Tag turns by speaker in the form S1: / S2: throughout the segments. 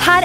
S1: her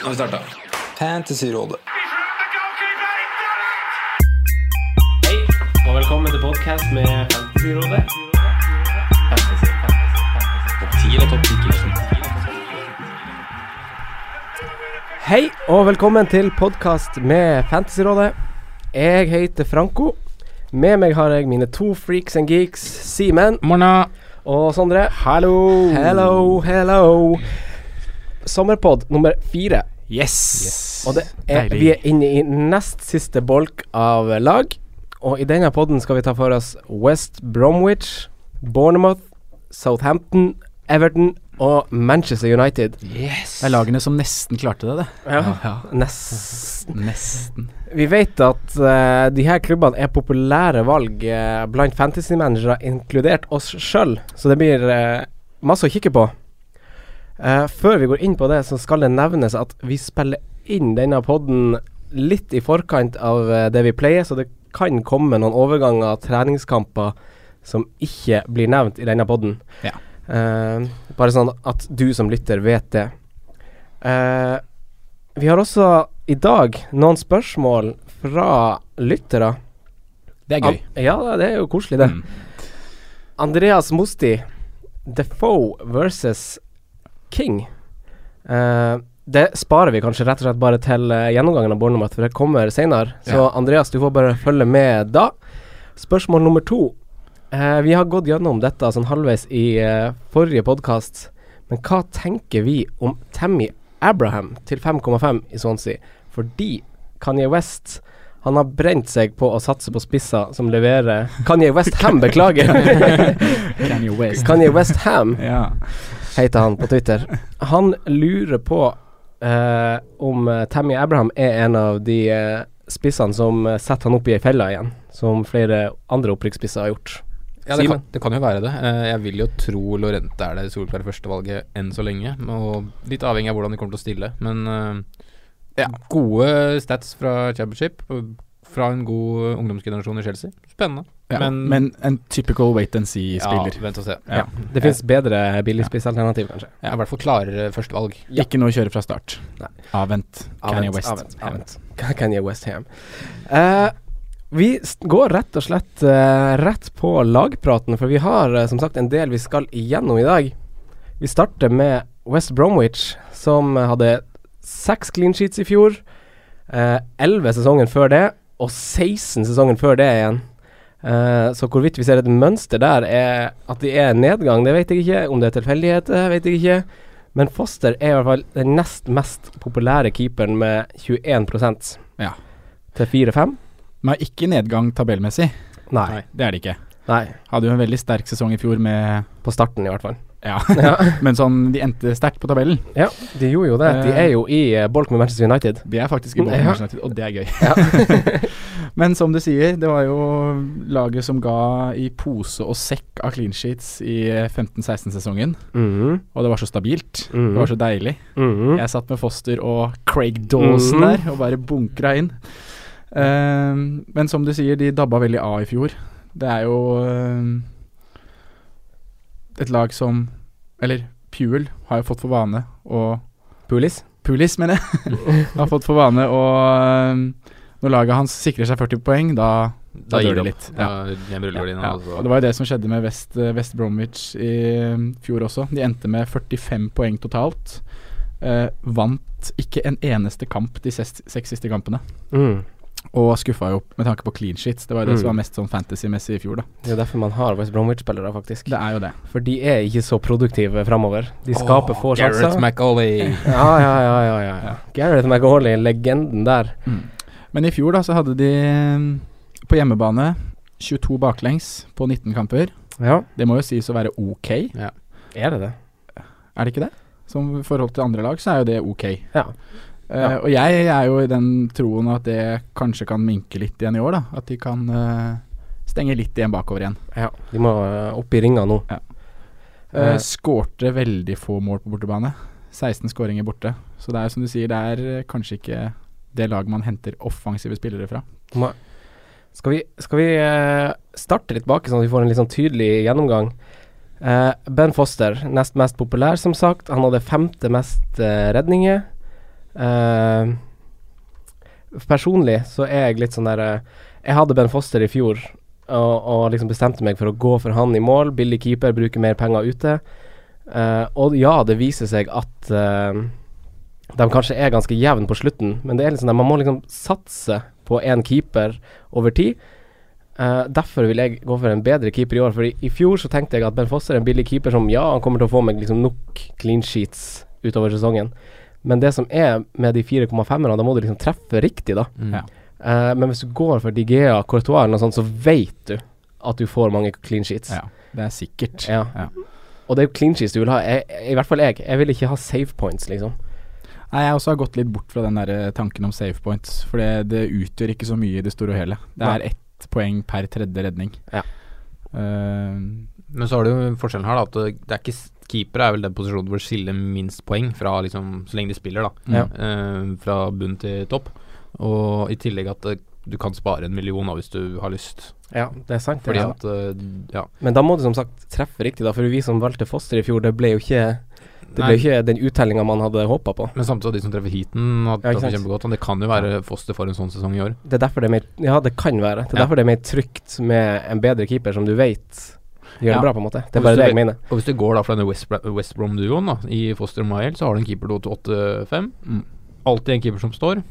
S2: Nå har vi starta. Fantasyrådet.
S3: Hei, og velkommen til podcast med Fantasyrådet. Hei, og velkommen til podcast med Fantasyrådet. Jeg heter Franco. Med meg har jeg mine to freaks and geeks, Simen
S4: Morna.
S3: og Sondre.
S4: Hallo.
S3: Hello, hello. Sommerpod nummer fire.
S4: Yes.
S3: Og det er,
S4: Deilig.
S3: vi er inne i nest siste bolk av lag. Og i denne podden skal vi ta for oss West Bromwich, Bournemouth, Southampton, Everton og Manchester United.
S4: Det er lagene som nesten klarte det, det.
S3: Nest.
S4: Nesten.
S3: Vi vet at eh, de her klubbene er populære valg eh, blant fantasy-managere, inkludert oss sjøl, så det blir eh, masse å kikke på. Eh, før vi går inn på det, så skal det nevnes at vi spiller inn denne podden litt i forkant av eh, det vi pleier, så det kan komme noen overganger, treningskamper, som ikke blir nevnt i denne podden.
S4: Ja.
S3: Eh, bare sånn at du som lytter vet det. Eh, vi har også i dag noen spørsmål fra lyttere.
S4: Det er gøy.
S3: An ja, det er jo koselig, det.
S4: Mm.
S3: Andreas Mosti, Defoe versus King. Eh, det sparer vi kanskje rett og slett bare til eh, gjennomgangen av Bournemouth, for det kommer senere. Så
S4: Ja.
S3: Andreas, du får bare følge med da. Spørsmål nummer to. Eh, vi har gått gjennom dette sånn halvveis i eh, forrige podkast, men hva tenker vi om Tammy Abraham til 5,5 i Swansea? Fordi Kanye West han har brent seg på å satse på spisser som leverer Kanye West Ham, beklager!
S4: Kanye West.
S3: Kanye West Ham
S4: Ja.
S3: heter han på Twitter. Han lurer på eh, om eh, Tammy Abraham er en av de eh, spissene som eh, setter han opp i ei felle igjen, som flere andre opprykksspisser har gjort.
S2: Ja, det kan,
S3: Simen?
S2: det kan jo være det. Eh, Jeg vil jo tro Lorente er det soleklare førstevalget enn så lenge. Og litt avhengig av hvordan de kommer til å stille. Men eh, ja, gode stats fra championship. eh, Fra en god ungdomsgenerasjon i Chelsea. Spennende.
S4: Ja. Men,
S2: Men-
S4: en typical wait and see-spiller.
S2: Ja, vent og se.
S4: Ja.
S3: Det finnes bedre billigspissalternativ, kanskje.
S2: Ja, I hvert fall klarere førstevalg.
S4: Ikke noe å kjøre fra start.
S3: Nei.
S4: Avvent. Kanye West.
S3: Avvent, avvent. Kanye West Ham. Eh, vi s- går rett og slett eh, rett på lagpraten, for vi har eh, som sagt en del vi skal igjennom i dag. Vi starter med West Bromwich, som eh, hadde seks clean sheets i fjor. eh, Elleve sesongen før det, og 16 sesongen før det igjen. Eh, så hvorvidt vi ser et mønster der, er at de er nedgang, det vet jeg ikke. Om det er tilfeldigheter, vet jeg ikke. Men Foster er i hvert fall den nest mest populære keeperen med 21
S4: Ja.
S3: til 4-5.
S4: Men ikke nedgang tabellmessig.
S3: Nei.
S4: Det er det ikke.
S3: Nei.
S4: Hadde jo en veldig sterk sesong i fjor med
S3: På starten, i hvert fall.
S4: ja. Men sånn, de endte sterkt på tabellen.
S3: Ja, de gjorde jo det. De er jo i eh, bolk med Manchester United.
S4: De er faktisk i
S3: Ja.
S4: Bolton Manchester United, og det er gøy. Men som du sier, det var jo laget som ga i pose og sekk av clean sheets i 15-16-sesongen.
S3: Mhm,
S4: Og det var så stabilt.
S3: Mhm.
S4: Det var så deilig.
S3: mhm.
S4: Jeg satt med Foster og Craig Dawson
S3: Mhm.
S4: der og bare bunkra inn. Ehm, men som du sier, de dabba veldig av i fjor. Det er jo ehm, et lag som Eller Puel har jo fått for vane å
S3: Pulis.
S4: Pulis, mener jeg. har fått for vane å um, Når laget hans sikrer seg 40 poeng, da, da,
S2: gir
S4: dør det
S2: de
S4: litt.
S2: opp.
S4: Ja.
S2: Da gjemmer rullegardina,
S4: Ja,
S2: altså.
S4: og Det var jo det som skjedde med West, eh, West Bromwich i um, fjor også. De endte med 45 poeng totalt. Eh, vant ikke en eneste kamp de seks, seks siste kampene.
S3: Mm.
S4: Og skuffa jo opp med tanke på clean sheets. Det var jo det
S3: Mm.
S4: som var mest sånn fantasy-messig i fjor, da.
S3: Det er jo derfor man har West Bromwich-spillere, faktisk.
S4: Det er jo det.
S3: For de er ikke så produktive framover. De skaper få
S2: Gareth
S3: sjanser.
S2: McAuley.
S3: Ja, ja, ja, ja, ja, ja. Gareth McAuley, legenden der.
S4: Men i fjor da så hadde de eh, på hjemmebane 22 baklengs på 19 kamper.
S3: Ja,
S4: Det må jo sies å være ok,
S3: er det det?
S4: er det ikke det? Som i forhold til andre lag, så er jo det ok.
S3: Ja.
S4: Eh,
S3: Ja.
S4: og jeg er jo i den troen at det kanskje kan minke litt igjen i år, da. At de kan eh, stenge litt igjen bakover igjen.
S3: Ja. De må eh, opp i ringa nå.
S4: Ja.
S3: Eh,
S4: Eh, skårte veldig få mål på bortebane. 16 skåringer borte. Så det er jo som du sier, det er eh, kanskje ikke det laget man henter offensive spillere fra.
S3: Skal vi, skal vi eh, starte litt bak, sånn at vi får en litt sånn tydelig gjennomgang? Eh, ben Foster, nest mest populær, som sagt. Han hadde femte mest eh, redninger. Eh, personlig så er jeg litt sånn der eh, Jeg hadde Ben Foster i fjor og, og liksom bestemte meg for å gå for han i mål. Billig keeper, bruke mer penger ute. Eh, og ja, det viser seg at eh, de kanskje er ganske jevne på slutten, men det er liksom det, man må liksom satse på én keeper over tid. Eh, derfor vil jeg gå for en bedre keeper i år, for i, i fjor så tenkte jeg at Ben Foster er en billig keeper som ja, han kommer til å få meg liksom nok clean sheets utover sesongen. Men det som er med de 4,5-erne, da må du liksom treffe riktig, da.
S4: Mm. Ja.
S3: Eh, men hvis du går for Digea, Courtois eller noe sånt, så vet du at du får mange clean sheets.
S4: Ja, Det er sikkert.
S3: Ja. Og det er jo clean sheets du vil ha, jeg, jeg- i hvert fall jeg. Jeg vil ikke ha save points, liksom.
S4: Nei, Jeg også har gått litt bort fra den der eh, tanken om save points, for det, det utgjør ikke så mye i det store og hele. Det
S3: Nei.
S4: er ett poeng per tredje redning.
S3: Ja.
S4: Eh,
S2: Men så har du jo forskjellen her, da. At det- det er ikke s- Keepere er vel den posisjonen hvor det skiller minst poeng fra liksom Så lenge de spiller, da.
S3: Mm.
S4: Ja.
S2: Eh, fra bunn til topp. Og i tillegg at eh, du kan spare en million da, hvis du har lyst.
S3: Ja, det er sant. det
S2: Fordi
S3: er sant.
S2: at eh, Ja.
S3: Men da må du som sagt treffe riktig, da. For vi som valgte Foster i fjor, det ble jo ikke, det
S2: Nei,
S3: ble jo ikke den uttellinga man hadde håpa på.
S2: Men samtidig de som treffer heaten,
S3: Ja,
S2: har
S3: ikke
S2: treffet
S3: sant.
S2: kjempegodt. Og det kan jo være Foster for en sånn sesong i år.
S3: Det er derfor det er mer Ja, det kan være. Det er
S2: Ja.
S3: derfor det er mer trygt med en bedre keeper som du veit gjør
S4: Ja.
S3: det bra, på en måte. Det
S2: Og
S3: er bare det
S2: hvis du
S3: jeg
S2: vet-
S3: mener.
S2: Og hvis du går da fra denne West, Bra- West Brom-duoen da i Foster og Mile, så har du en keeper til 8-5.
S4: Mm.
S2: Alltid en keeper som står.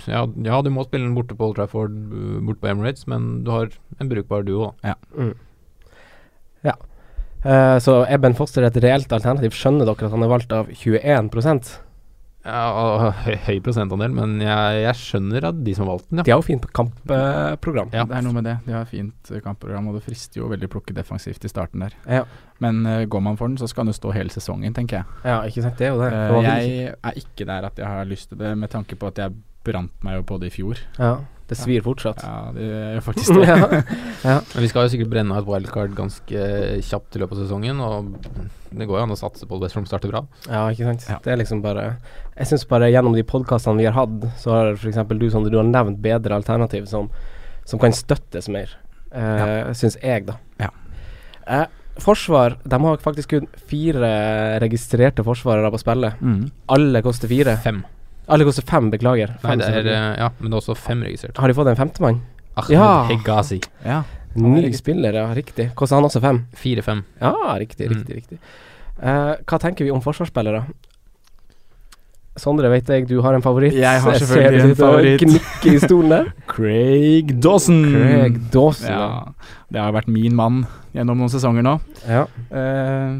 S2: Så ja, ja, du må spille den borte på Old Trafford, øh, borte på Emirates, men du har en brukbar duo. da.
S3: Eh, så er Ben Foster et reelt alternativ? Skjønner dere at han er valgt av 21 De
S2: Ja, høy, høy prosentandel, men jeg, jeg skjønner at de som har valgt den, ja.
S3: har jo fint kampprogram.
S2: Ja.
S4: Det er noe med det. De har fint eh, kampprogram, og det frister jo veldig å plukke defensivt i starten der.
S3: Ja.
S4: Men eh, går man for den, så skal den jo stå hele sesongen, tenker jeg.
S3: ja, ikke sant. Det er jo det.
S4: Eh,
S3: For man vil ikke-
S4: jeg er ikke der at jeg har lyst til det, med tanke på at jeg brant meg jo på det i fjor.
S3: ja, det svir fortsatt.
S4: Ja, det gjør faktisk det.
S3: Ja.
S2: Men vi skal jo sikkert brenne av et wildcard ganske eh, kjapt i løpet av sesongen, og det går jo an å satse på at West Brom starter bra.
S3: Ja, ikke sant.
S4: Ja.
S3: Det er liksom bare Jeg syns bare gjennom de podkastene vi har hatt, så har f.eks. du, Sondre, du har nevnt bedre alternativ som, som kan støttes mer. Eh, Syns jeg, da.
S4: Ja.
S3: Eh, forsvar, de har faktisk kun fire registrerte forsvarere på spillet.
S4: Mm.
S3: Alle koster fire.
S2: Fem.
S3: Alle koster fem, beklager.
S2: Nei,
S3: Fem,
S2: det er,
S3: selvfølgelig.
S2: øh, ja, men det er også fem registrert.
S3: har de fått en femtemann?
S2: Ahmed
S3: Ja.
S2: Hegazi.
S4: Ja.
S3: Ny
S4: regi-
S3: spiller, ja. Riktig. Koster han også fem?
S2: Fire-fem.
S3: Ja, riktig,
S2: Mm.
S3: riktig, riktig. Eh, hva tenker vi om forsvarsspillere? Sondre, vet jeg du har en favoritt.
S4: Jeg har
S3: ser
S4: selvfølgelig
S3: det
S4: en
S3: ut til å
S4: favoritt.
S3: Gnikke i stolen der.
S4: Craig Dawson.
S3: Craig Dawson. Ja.
S4: Ja, det har jo vært min mann gjennom noen sesonger nå.
S3: ja.
S4: Eh,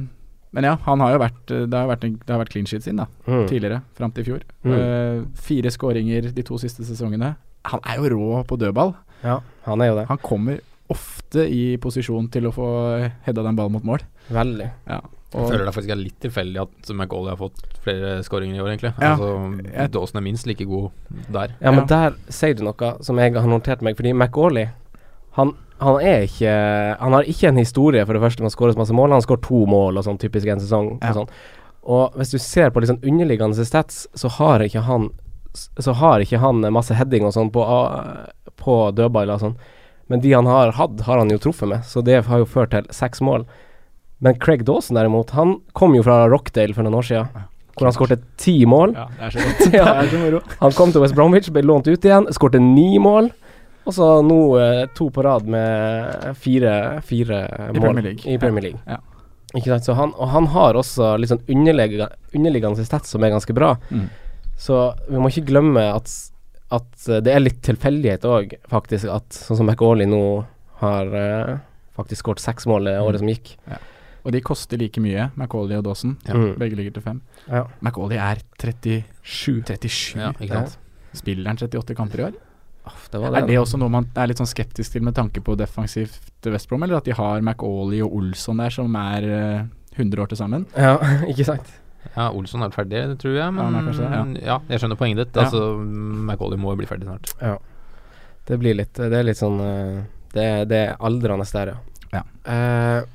S4: men ja, han har jo vært eh, Det har vært, en, det har vært clean sheet sin, da.
S3: Mm.
S4: Tidligere, fram til i fjor.
S3: Mm.
S4: Eh, fire skåringer de to siste sesongene. Han er jo rå på dødball.
S3: ja. Han er jo det.
S4: Han kommer ofte i posisjon til å få heada den ballen mot mål.
S3: Veldig.
S2: Jeg
S4: Og
S2: føler det faktisk er litt tilfeldig at McAuley har fått flere skåringer i år, egentlig.
S4: Ja.
S2: Altså,
S4: Jeg-
S2: Dawson er minst like god der.
S3: Ja, men
S4: Ja.
S3: der sier du noe som jeg har notert meg, fordi McAuley han, han er ikke Han har ikke en historie, for det første, med å skåre så masse mål. Han skårer to mål og sånn, typisk en sesong.
S4: Ja.
S3: Og, sånn. og hvis du ser på litt sånn underliggende stats, så har ikke han Så har ikke han masse heading og sånn på, a- på dødball og sånn. Men de han har hatt, har han jo truffet med, så det har jo ført til seks mål. Men Craig Dawson derimot, han kom jo fra Rockdale for noen år siden, hvor han skårte ti mål.
S4: ja, det er så godt.
S3: Ja.
S4: Det er så moro.
S3: Han kom til West Bromwich, ble lånt ut igjen, skårte ni mål. Og så nå eh, to på rad med fire, fire mål
S4: Premier League.
S3: i Premier League.
S4: Ja.
S3: Ikke sant? Så han, og han har også litt sånn underliggende, underliggende stats som er ganske bra.
S4: Mm.
S3: Så vi må ikke glemme at s- at eh, det er litt tilfeldighet òg, faktisk, at sånn som McAuley nå har eh, faktisk skåret seks mål det
S4: Mm.
S3: året som gikk.
S4: Og de koster like mye, Macauley og Dawson.
S3: Mm.
S4: Begge ligger til fem.
S3: Ja.
S4: Macauley er 30, 37.
S2: Ja, ikke sant?
S4: Spiller han 38 kamper i år?
S3: Aff, det var det.
S4: Er det også noe man er litt sånn skeptisk til med tanke på defensivt West Brom, eller at de har McAuley og Olsson der som er eh, 100 år til sammen?
S3: Ja, ikke sant?
S2: Ja, Olsson er ferdig, tror jeg. Men
S4: han er kanskje
S2: ja.
S4: det,
S2: jeg skjønner poenget ditt.
S4: Ja.
S2: Altså, Macauley må jo bli ferdig snart.
S3: Det blir litt Det er litt sånn eh, Det, er- det er aldrende der,
S4: Ja.
S3: Eh,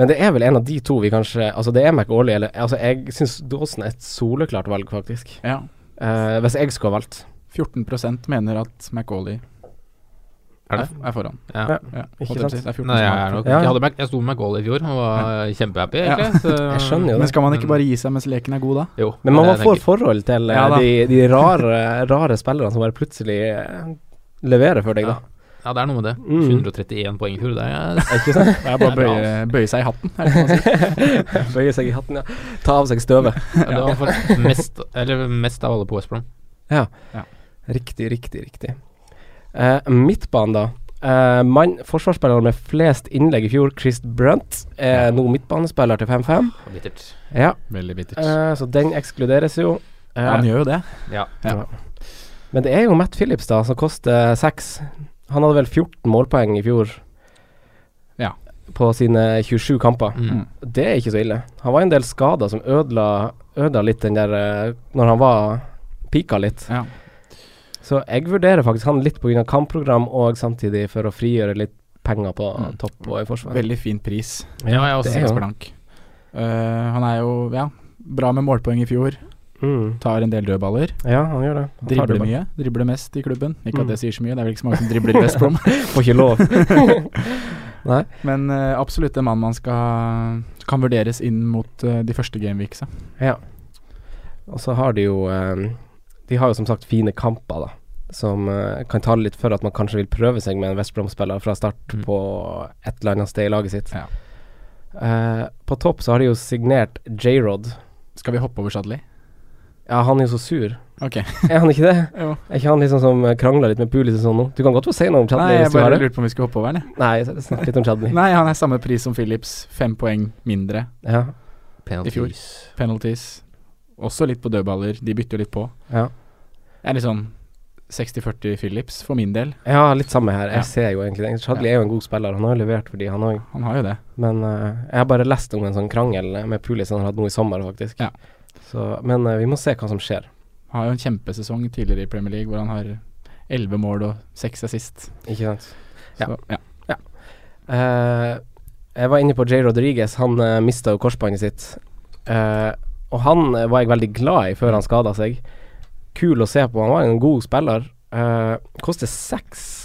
S3: men det er vel en av de to vi kanskje Altså, det er McAuley, eller Altså, jeg syns Dawson er et soleklart valg, faktisk.
S4: Ja.
S3: Eh, hvis jeg skulle ha valgt.
S4: 14 mener at McAuley
S2: Er
S4: er,
S2: det?
S4: er foran.
S2: Ja.
S3: Ja.
S4: Holdt jeg på å si, det er 14
S2: Nei,
S4: som
S2: jeg,
S4: er
S2: er nok,
S3: Ja, ja.
S2: jeg, hadde, Mac- jeg sto med Macauley i fjor og var kjempehappy,
S4: Ja.
S2: egentlig. Så,
S3: Jeg skjønner jo
S4: Men
S3: det.
S4: skal man ikke bare gi seg mens leken er god, da?
S2: Jo,
S3: Men man
S2: det
S3: må
S2: tenker
S3: få
S2: jeg.
S3: forhold til eh,
S4: Ja da.
S3: de, de rare, rare spillerne som bare plutselig eh, leverer for deg,
S2: ja.
S3: da.
S2: ja, det er noe med det.
S3: Mm.
S2: 131 poeng i fjor, det er
S3: Ikke sant?
S4: Det er bare å bøye, bøye seg i hatten. Er det sånn å si?
S3: Bøye seg i hatten, ja. Ta av seg støvet.
S2: Ja, Det var for mest, eller mest av alle på West Brom.
S3: Riktig, riktig, riktig. Eh, midtbanen, da. Eh, mann, forsvarsspilleren med flest innlegg i fjor, Chris Brunt, er nå midtbanespiller til 5-5.
S2: Bittert.
S3: Ja,
S4: Veldig bittert.
S3: eh, så den ekskluderes jo. Eh,
S4: han gjør jo det.
S2: Ja.
S3: men det er jo Matt Phillips, da, som koster seks. Han hadde vel 14 målpoeng i fjor.
S4: Ja.
S3: På sine 27 kamper.
S2: Mm.
S3: Det er ikke så ille. Han var en del skader som ødela, ødela litt den der eh, Når han var pika litt.
S4: Ja.
S3: Så jeg vurderer faktisk han litt pga. kampprogram og samtidig for å frigjøre litt penger på
S4: Mm.
S3: topp og i forsvar.
S4: Veldig fin pris.
S2: Ja, jeg også.
S3: Det er
S4: Seks
S3: jo-
S4: blank. Eh, han er jo, ja, bra med målpoeng i fjor.
S3: Mm.
S4: Tar en del dødballer.
S3: Ja, han gjør det. Han tar
S4: Dribler
S3: det
S4: mye. Dribler mest i klubben.
S3: Mm.
S4: Ikke at det sier så mye, det er vel ikke så mange som dribler i West Brom.
S3: bare. Får ikke lov.
S4: Men eh, absolutt en mann man skal kan vurderes inn mot eh, de første gameweeksa.
S3: ja. Og så har de jo eh, De har jo som sagt fine kamper, da. Som eh, kan tale litt for at man kanskje vil prøve seg med en West Brom-spiller fra start
S2: Mm.
S3: på et eller annet sted i laget sitt.
S4: Ja.
S3: Eh, på topp så har de jo signert J-Rod.
S4: Skal vi hoppe over Shadley?
S3: Ja, han er jo så sur.
S4: Ok.
S3: Er han ikke det?
S4: Jo.
S3: Er ikke han liksom som krangler litt med Pulis og sånn nå? Du kan godt få si noe om
S4: Nei,
S3: Chadley
S4: jeg
S3: hvis du har
S4: bare
S3: det.
S4: lurte på om vi skulle hoppe over den. jeg.
S3: Nei, snakk litt om Chadley.
S4: Nei, han er samme pris som Phillips. Fem poeng mindre.
S3: Ja.
S2: Penalties.
S4: I fjor. Penalties. Også litt på dødballer. De bytter jo litt på.
S3: Ja.
S4: Det er litt sånn 60-40 Phillips for min del.
S3: ja, litt samme her.
S4: Ja.
S3: Jeg ser jo egentlig det. Chadley er jo en god spiller. Han har jo levert for de, han òg.
S4: Han har jo det.
S3: Men eh, jeg har bare lest om en sånn krangel med Pulis han har hatt nå i sommer, faktisk.
S4: Ja.
S3: Så, men eh, vi må se hva som skjer.
S4: Han har jo en kjempesesong tidligere i Premier League hvor han har elleve mål og seks assist.
S3: Ikke sant. Ja.
S4: Så, ja.
S3: Eh, jeg var inne på J. Rodriguez. Han uh, mista jo korsbåndet sitt. Eh, og han eh, var jeg veldig glad i før han skada seg. Kul å se på. Han var en god spiller. Uh, Koster seks.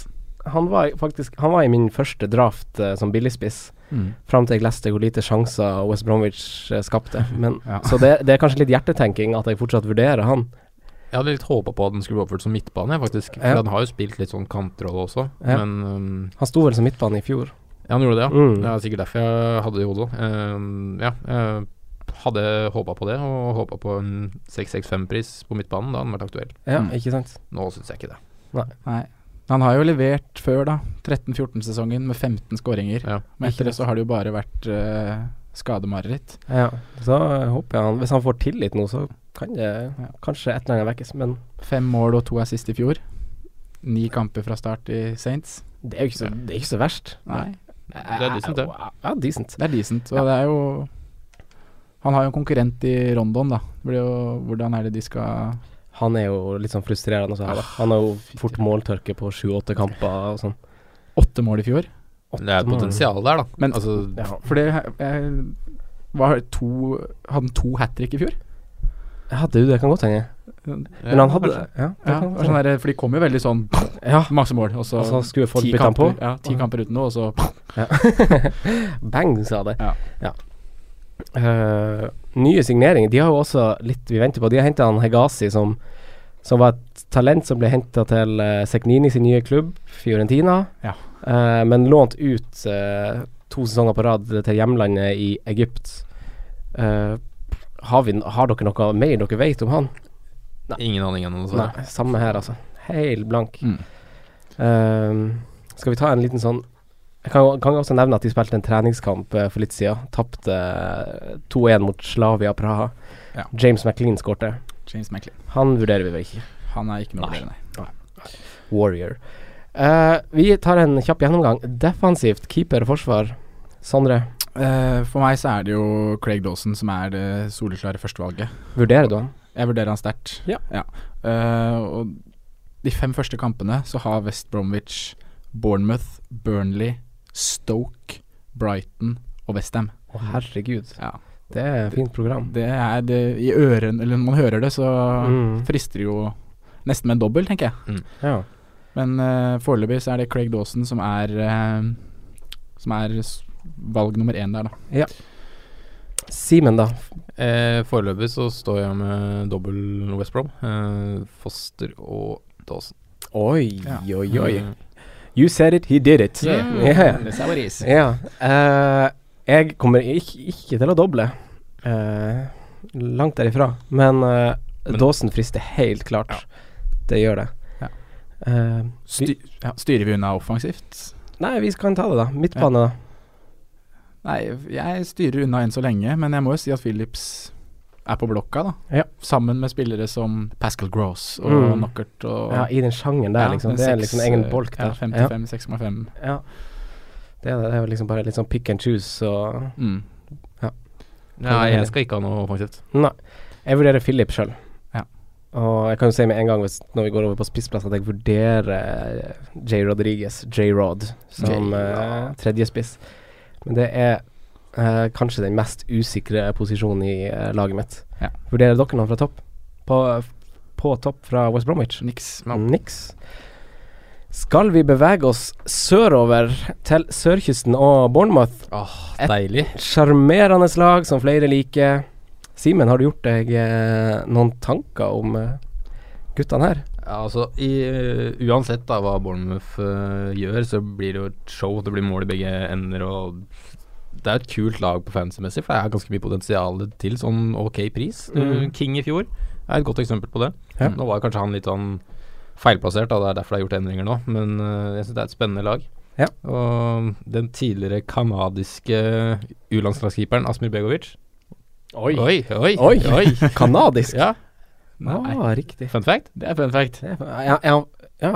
S3: Han var, i- faktisk, han var i min første draft eh, som billigspiss,
S4: Mm.
S3: fram til jeg leste hvor lite sjanser West Bromwich eh, skapte. Men,
S4: Ja.
S3: Så det, det er kanskje litt hjertetenking at jeg fortsatt vurderer han.
S2: Jeg hadde litt håpa på at den skulle bli oppført som midtbane, jeg, faktisk. For
S3: Ja.
S2: han har jo spilt litt sånn kantrolle også,
S3: Ja.
S2: men um,
S3: Han sto vel som midtbane i fjor.
S2: ja, han gjorde det, ja.
S3: Mm.
S2: Det er sikkert derfor jeg hadde det i hodet. Um, ja, jeg hadde håpa på det, og håpa på en 665-pris på midtbanen. Da hadde den vært aktuell.
S3: Ja,
S4: Mm.
S3: ikke sant.
S2: Nå syns jeg ikke det.
S4: Nei. Han har jo levert før, da. 13-14-sesongen med 15 skåringer.
S2: Ja.
S4: Men etter det så har det jo bare vært eh, skademareritt.
S3: Ja, så eh, håper jeg han Hvis han får tillit nå, så kan det
S4: Ja.
S3: kanskje et eller annet vekkes. Men
S4: Fem mål og to assist i fjor. Ni kamper fra start i Saints.
S3: det er jo ikke så, det er ikke så verst.
S4: Nei,
S2: Det er decent, det.
S3: Ja, decent.
S4: det er decent. Og det er jo Han har jo en konkurrent i Rondon, da. Det blir jo, hvordan er det de skal
S3: Han er jo litt sånn frustrerende også her, da. Han har jo fort måltørke på sju-åtte kamper og sånn.
S4: Åtte mål i fjor.
S2: Det er et potensial der, da.
S4: Men-
S2: altså,
S3: Ja.
S4: For det jeg, var to Hadde han to hat trick i fjor?
S3: Hadde du det? Kan godt hende.
S2: ja,
S3: Men han hadde
S4: kanskje.
S3: Ja, det kan
S4: Ja, det var
S3: godt
S4: sånn
S3: hende.
S4: der, for de kom jo veldig sånn
S3: ja.
S4: masse mål, og så
S3: Og så skulle folk
S4: ti
S3: bytte Altså, han på.
S4: kamper, ja, ti kamper uten noe, og så
S3: Bang, sa det.
S4: Ja.
S3: Eh, nye signeringer. De har jo også litt vi venter på. De har henta han Hegazi, som, som var et talent som ble henta til eh, Seknini sin nye klubb, Fiorentina.
S4: Ja.
S3: Eh, men lånt ut eh, to sesonger på rad til hjemlandet i Egypt. Eh, har, vi, har dere noe mer dere vet om han?
S2: Ingen aning ennå, dessverre.
S3: Nei, samme her, altså. Helt blank.
S4: Mm.
S3: Ehm, skal vi ta en liten sånn Jeg kan, jo- kan jo også nevne at de spilte en treningskamp eh, for litt siden. Tapte eh, 2-1 mot Slavia Praha.
S4: Ja.
S3: James McLean skårte.
S4: James Macklin.
S3: Han vurderer vi vel ikke.
S4: Han er ikke noe å
S3: Nei.
S4: vurdere, nei.
S3: Warrior. Eh, vi tar en kjapp gjennomgang. Defensivt, keeper, forsvar. Sondre,
S4: Eh, for meg så er det jo Craig Dawson som er det soleklare førstevalget.
S3: vurderer du han?
S4: Jeg vurderer han sterkt.
S3: Ja.
S4: Eh, og de fem første kampene så har West Bromwich, Bournemouth, Burnley, Stoke, Brighton og Westham.
S3: Å, herregud.
S4: Ja.
S3: Det er et fint program.
S4: Det er det i øren Eller når man hører det, så
S3: Mm.
S4: frister det jo nesten med en dobbel, tenker jeg.
S3: Ja.
S4: Men eh, foreløpig så er det Craig Dawson som er eh, Som er s- valg nummer én der, da.
S3: Simen, da.
S2: Eh, Foreløpig så står jeg med dobbel West Brom. Eh, Foster og Dawson.
S3: Oi,
S4: Ja.
S3: oi, oi.
S2: Mm.
S3: You said it, he did it.
S2: Yeah.
S3: Yeah.
S4: That's how it is.
S3: Ja. eh, jeg kommer ikke, ikke til å doble. Eh, langt derifra. Men, eh,
S2: Men-
S3: Dawson frister helt klart. Det gjør det.
S4: Ja.
S3: Eh,
S4: Sty ja. Styrer vi unna offensivt?
S3: nei, vi kan ta det, da. Midtbane, da.
S4: Nei, jeg styrer unna enn så lenge, men jeg må jo si at Phillips er på blokka, da.
S3: Ja.
S4: Sammen med spillere som Pascal Gross og
S3: Mm.
S4: Knockert og
S3: Ja, I den sjangeren der,
S4: Ja,
S3: liksom.
S4: den
S3: Det er
S4: seks,
S3: liksom egen
S4: eh,
S3: bolk der.
S4: Ja, 55, 6,5.
S3: Ja. Det, er, det er vel liksom bare litt sånn pick and choose og
S4: Mm.
S2: Nei, jeg skal ikke ha noe offensivt.
S3: Nei. Jeg vurderer Philip sjøl.
S4: Ja.
S3: Og jeg kan jo si med en gang, hvis, når vi går over på spissplass, at jeg vurderer eh, J. Rodriguez, J-Rod, som eh, tredje spiss. Men det er eh, kanskje den mest usikre posisjonen i eh, laget mitt.
S4: Ja.
S3: Vurderer dere noen fra topp? På, på topp fra West Bromwich?
S4: Niks.
S3: Niks. Skal vi bevege oss sørover til sørkysten og Bournemouth?
S2: Deilig.
S3: Sjarmerende lag som flere liker. Simen, har du gjort deg eh, noen tanker om eh, guttene her?
S2: Ja, altså, i, eh, uansett da hva Bournemouth eh, gjør, så blir det jo et show. Det blir mål i begge ender, og det er et kult lag på fancy-messig, for det er ganske mye potensial til sånn ok pris. Du,
S3: Mm.
S2: King i fjor er et godt eksempel på det.
S3: Ja.
S2: Nå var kanskje han litt sånn feilplassert, da. det er derfor det er gjort endringer nå, men eh, jeg syns det er et spennende lag.
S3: Ja.
S2: Og den tidligere kanadiske U-landslagskeeperen Asmir Begovic Oi, oi, oi!
S3: Oi. Kanadisk?
S2: Ja,
S3: ah, riktig.
S2: fun fact. Det er fun fact.
S3: Det er, ja, ja, ja.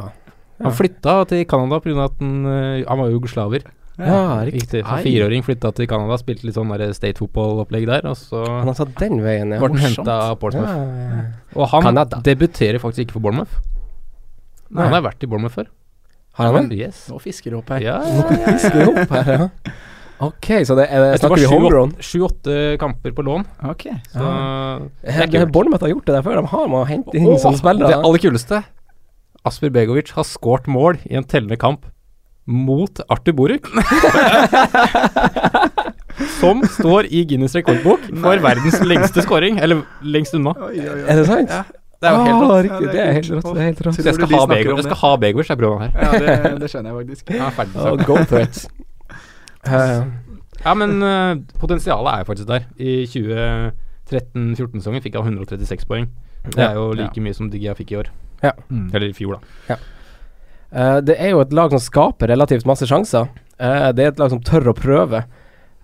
S2: Han flytta til Canada pga. at han, eh, han var jugoslaver.
S3: ja, riktig.
S2: Riktig. Som
S4: Ai.
S2: fireåring flytta til Canada, spilte litt sånn der state football-opplegg der, og så
S3: Han har tatt den veien, ja.
S2: ble han
S3: Morsomt.
S2: henta av
S3: Ja,
S2: Portsmouth.
S3: ja, ja.
S2: Og han
S3: Canada.
S2: debuterer faktisk ikke for Bournemouth.
S3: Nei.
S2: Han har vært i Bournemouth før.
S3: Har han det?
S2: Yes.
S4: Nå fisker du opp her.
S2: Ja,
S3: Fisker opp her, ja. Ok, så det er, eh,
S2: Jeg tror
S3: snakker vi
S2: det var
S3: homegrown?
S2: sju-åtte kamper på lån.
S4: Ok.
S2: Så det er kult.
S3: Eh, Bournemouth har gjort det der før. De har med å hente inn sånne
S2: det
S3: spillere.
S2: aller kuleste Asper Begovic har skåret mål i en tellende kamp mot Arthur Boruk. som står i Guinness rekordbok for verdens lengste skåring. Eller lengst unna.
S3: Er det sant?
S2: Det er jo helt rått.
S3: ah, riktig, det er helt rått. Det er helt rått.
S2: Så jeg skal ha Begovic, jeg skal ha Begovic, jeg prøver han her.
S4: Ja, det, det skjønner jeg faktisk.
S2: Jeg er ferdig
S3: Oh,
S2: med
S3: go for it. Eh,
S2: det. Ja, men eh, potensialet er jo faktisk der. I 2013-14-sesongen fikk han 136 poeng. Det er jo like mye som Diggia fikk i år.
S3: Ja.
S2: Eller i fjor, da.
S3: eh, det er jo et lag som skaper relativt masse sjanser. Eh, det er et lag som tør å prøve.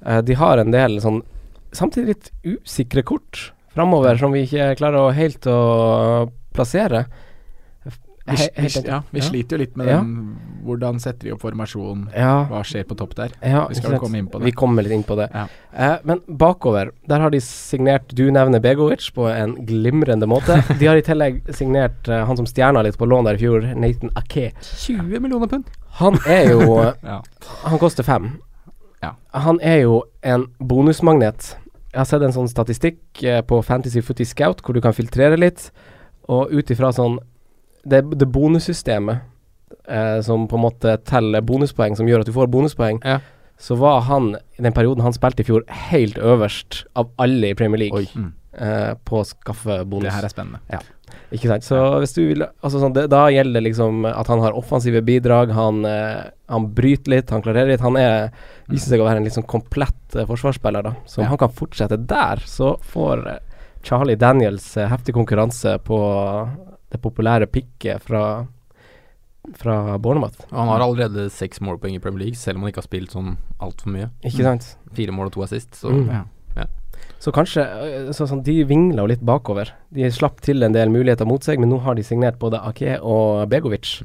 S3: Eh, de har en del sånn samtidig litt usikre kort framover som vi ikke klarer å helt å plassere.
S4: Vi,
S3: He-
S4: vi,
S3: helt-
S4: ja, vi
S3: ja.
S4: sliter jo litt med
S3: Ja.
S4: den Hvordan setter vi opp formasjon?
S3: Ja,
S4: Hva skjer på topp der?
S3: ja,
S4: Vi
S3: ikke
S4: skal vel
S3: sant?
S4: komme inn på
S3: Vi
S4: det.
S3: kommer litt inn på det.
S4: Ja.
S3: Eh, men bakover, der har de signert Du nevner Begovic på en glimrende måte. De har i tillegg signert eh, han som stjerna litt på lån der i fjor, Nathan Ake.
S2: 20 millioner pund.
S3: Han er jo
S4: Ja.
S3: Han koster fem.
S4: Ja.
S3: Han er jo en bonusmagnet. Jeg har sett en sånn statistikk eh, på Fantasy Footy Scout hvor du kan filtrere litt, og ut ifra sånn Det, det bonussystemet eh, som på en måte teller bonuspoeng, som gjør at du får bonuspoeng,
S2: Ja.
S3: så var han, i den perioden han spilte i fjor, helt øverst av alle i Premier League
S4: Mm.
S3: eh, på å skaffe bonus.
S4: Det her er spennende.
S3: Ikke sant. Så hvis du vil Altså sånn, det, da gjelder det liksom at han har offensive bidrag, han, eh, han bryter litt, han klarerer litt. Han er, viser seg å være en litt sånn komplett eh, forsvarsspiller, da. Så om han kan fortsette der, så får eh, Charlie Daniels eh, heftig konkurranse på det populære pikket fra, fra Bournemouth.
S2: Og han har allerede seks målpoeng i Premier League, selv om han ikke har spilt sånn altfor mye.
S3: Ikke sant?
S2: Fire mål og to assist, så
S3: Mm.
S4: Ja.
S3: Så kanskje eh, så, sånn, De vingla jo litt bakover. De slapp til en del muligheter mot seg, men nå har de signert både Ake og Begovic.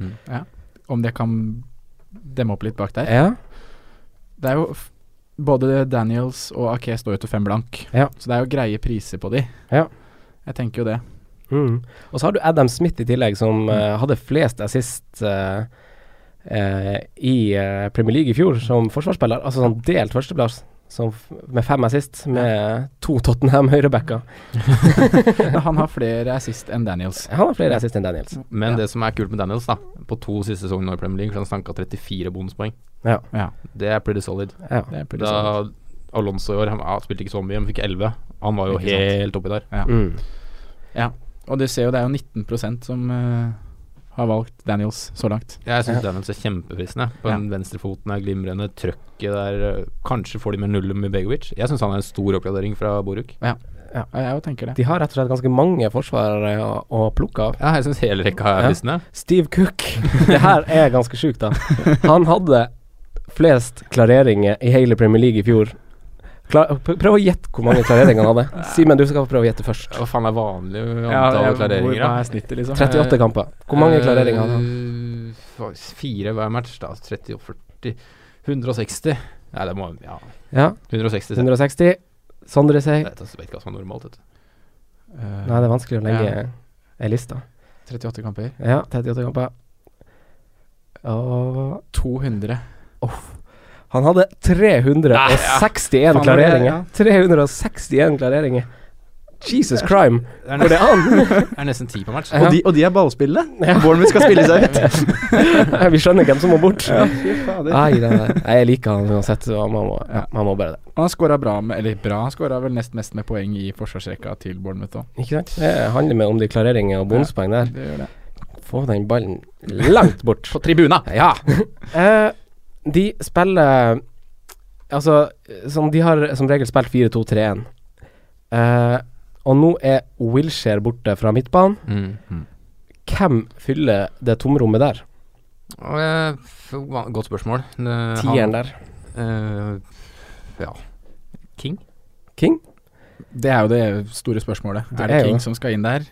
S4: Om det kan demme opp litt bak der.
S3: Ja,
S4: Det er jo f Både Daniels og Ake står jo til fem blank,
S3: Ja.
S4: så det er jo greie priser på de.
S3: Ja.
S4: Jeg tenker jo det.
S3: Mm. Og så har du Adam Smith i tillegg, som eh, hadde flest assist eh, eh, i eh, Premier League i fjor som forsvarsspiller. Altså sånn delt førsteplass som f med fem assist, med to Tottenham høyrebacker.
S4: Han har flere assist enn Daniels.
S3: Han har flere assist enn Daniels.
S2: Men
S4: Ja.
S2: det som er kult med Daniels, da på to siste sesonger i Premier League, så har han stanka 34 bonuspoeng.
S3: Ja.
S4: Ja.
S2: Det er pretty solid.
S3: Ja.
S4: Det er pretty solid.
S2: Da Alonso i år, han ja, spilte ikke så mye, men fikk 11. Han var jo
S4: Ikke sant.
S2: helt oppi der.
S3: Mm.
S4: Og du ser jo det er jo 19 som eh, har valgt Daniels så langt.
S2: Jeg syns Daniels er kjempefristende. På den venstrefoten er glimrende, trøkket der eh, Kanskje får de med null med Begovic. Jeg syns han er en stor oppgradering fra Boruk.
S4: Ja, jeg jo tenker det.
S3: De har rett og slett ganske mange forsvarere å, å plukke av.
S2: Ja, jeg syns hele rekka er
S3: Ja.
S2: fristende.
S3: Steve Cook. Det her er ganske sjukt, da. Han hadde flest klareringer i hele Premier League i fjor. Klar, pr- prøv å gjette hvor mange klareringer han hadde. Simen, du skal få prøve å gjette først.
S2: Hva faen er vanlig antall
S4: jeg-
S2: klareringer?
S4: Hvor
S2: da?
S4: hva er snittet, liksom?
S3: 38 kamper. Hvor mange
S2: Eh,
S3: klareringer hadde han?
S2: fa- Eh, Fire hver match, da. 30 og 40 160. Nei, det må Ja,
S3: Ja,
S2: 160. sier jeg.
S3: 160. Sondre sier
S2: Jeg vet ikke hva som er normalt. Vet du.
S4: Eh,
S3: Nei, det er vanskelig å legge
S4: Ja.
S3: ei liste.
S4: 38 kamper.
S3: Ja, 38 kamper. Og
S4: 200.
S3: han hadde 361
S4: Faen,
S3: klareringer.
S4: det
S3: 361 klareringer. Jesus crime! Går det an?
S2: Det er nesten ti på match.
S3: Ja.
S5: Og, de, og de er ballspillende. Bournemouth skal spille seg ut.
S3: Vi skjønner hvem som må bort.
S5: fader.
S3: Nei, nei, nei. Nei, jeg liker han uansett, så man må,
S4: Ja.
S3: man må bare det.
S4: Og han skåra bra med Eller bra, han skåra vel nest mest med poeng i forsvarsrekka til Bournemouth òg.
S3: Ikke sant? Det handler med om de klareringer og bonuspoeng der.
S4: Det gjør det.
S3: Få den ballen langt bort.
S2: På tribuna!
S3: Ja. Eh, de spiller Altså, som de har som regel spilt 4-2-3-1. Eh, og nå er Wilshere borte fra midtbanen.
S2: Mm.
S3: Hvem fyller det tomrommet der?
S2: Og, eh, f- va- godt spørsmål. Eh,
S3: Tieren der.
S2: han, eh, ja. King?
S3: King?
S4: Det er jo det store spørsmålet.
S3: Det
S4: er
S3: er
S4: det
S3: jo
S4: King
S3: det.
S4: som skal inn der?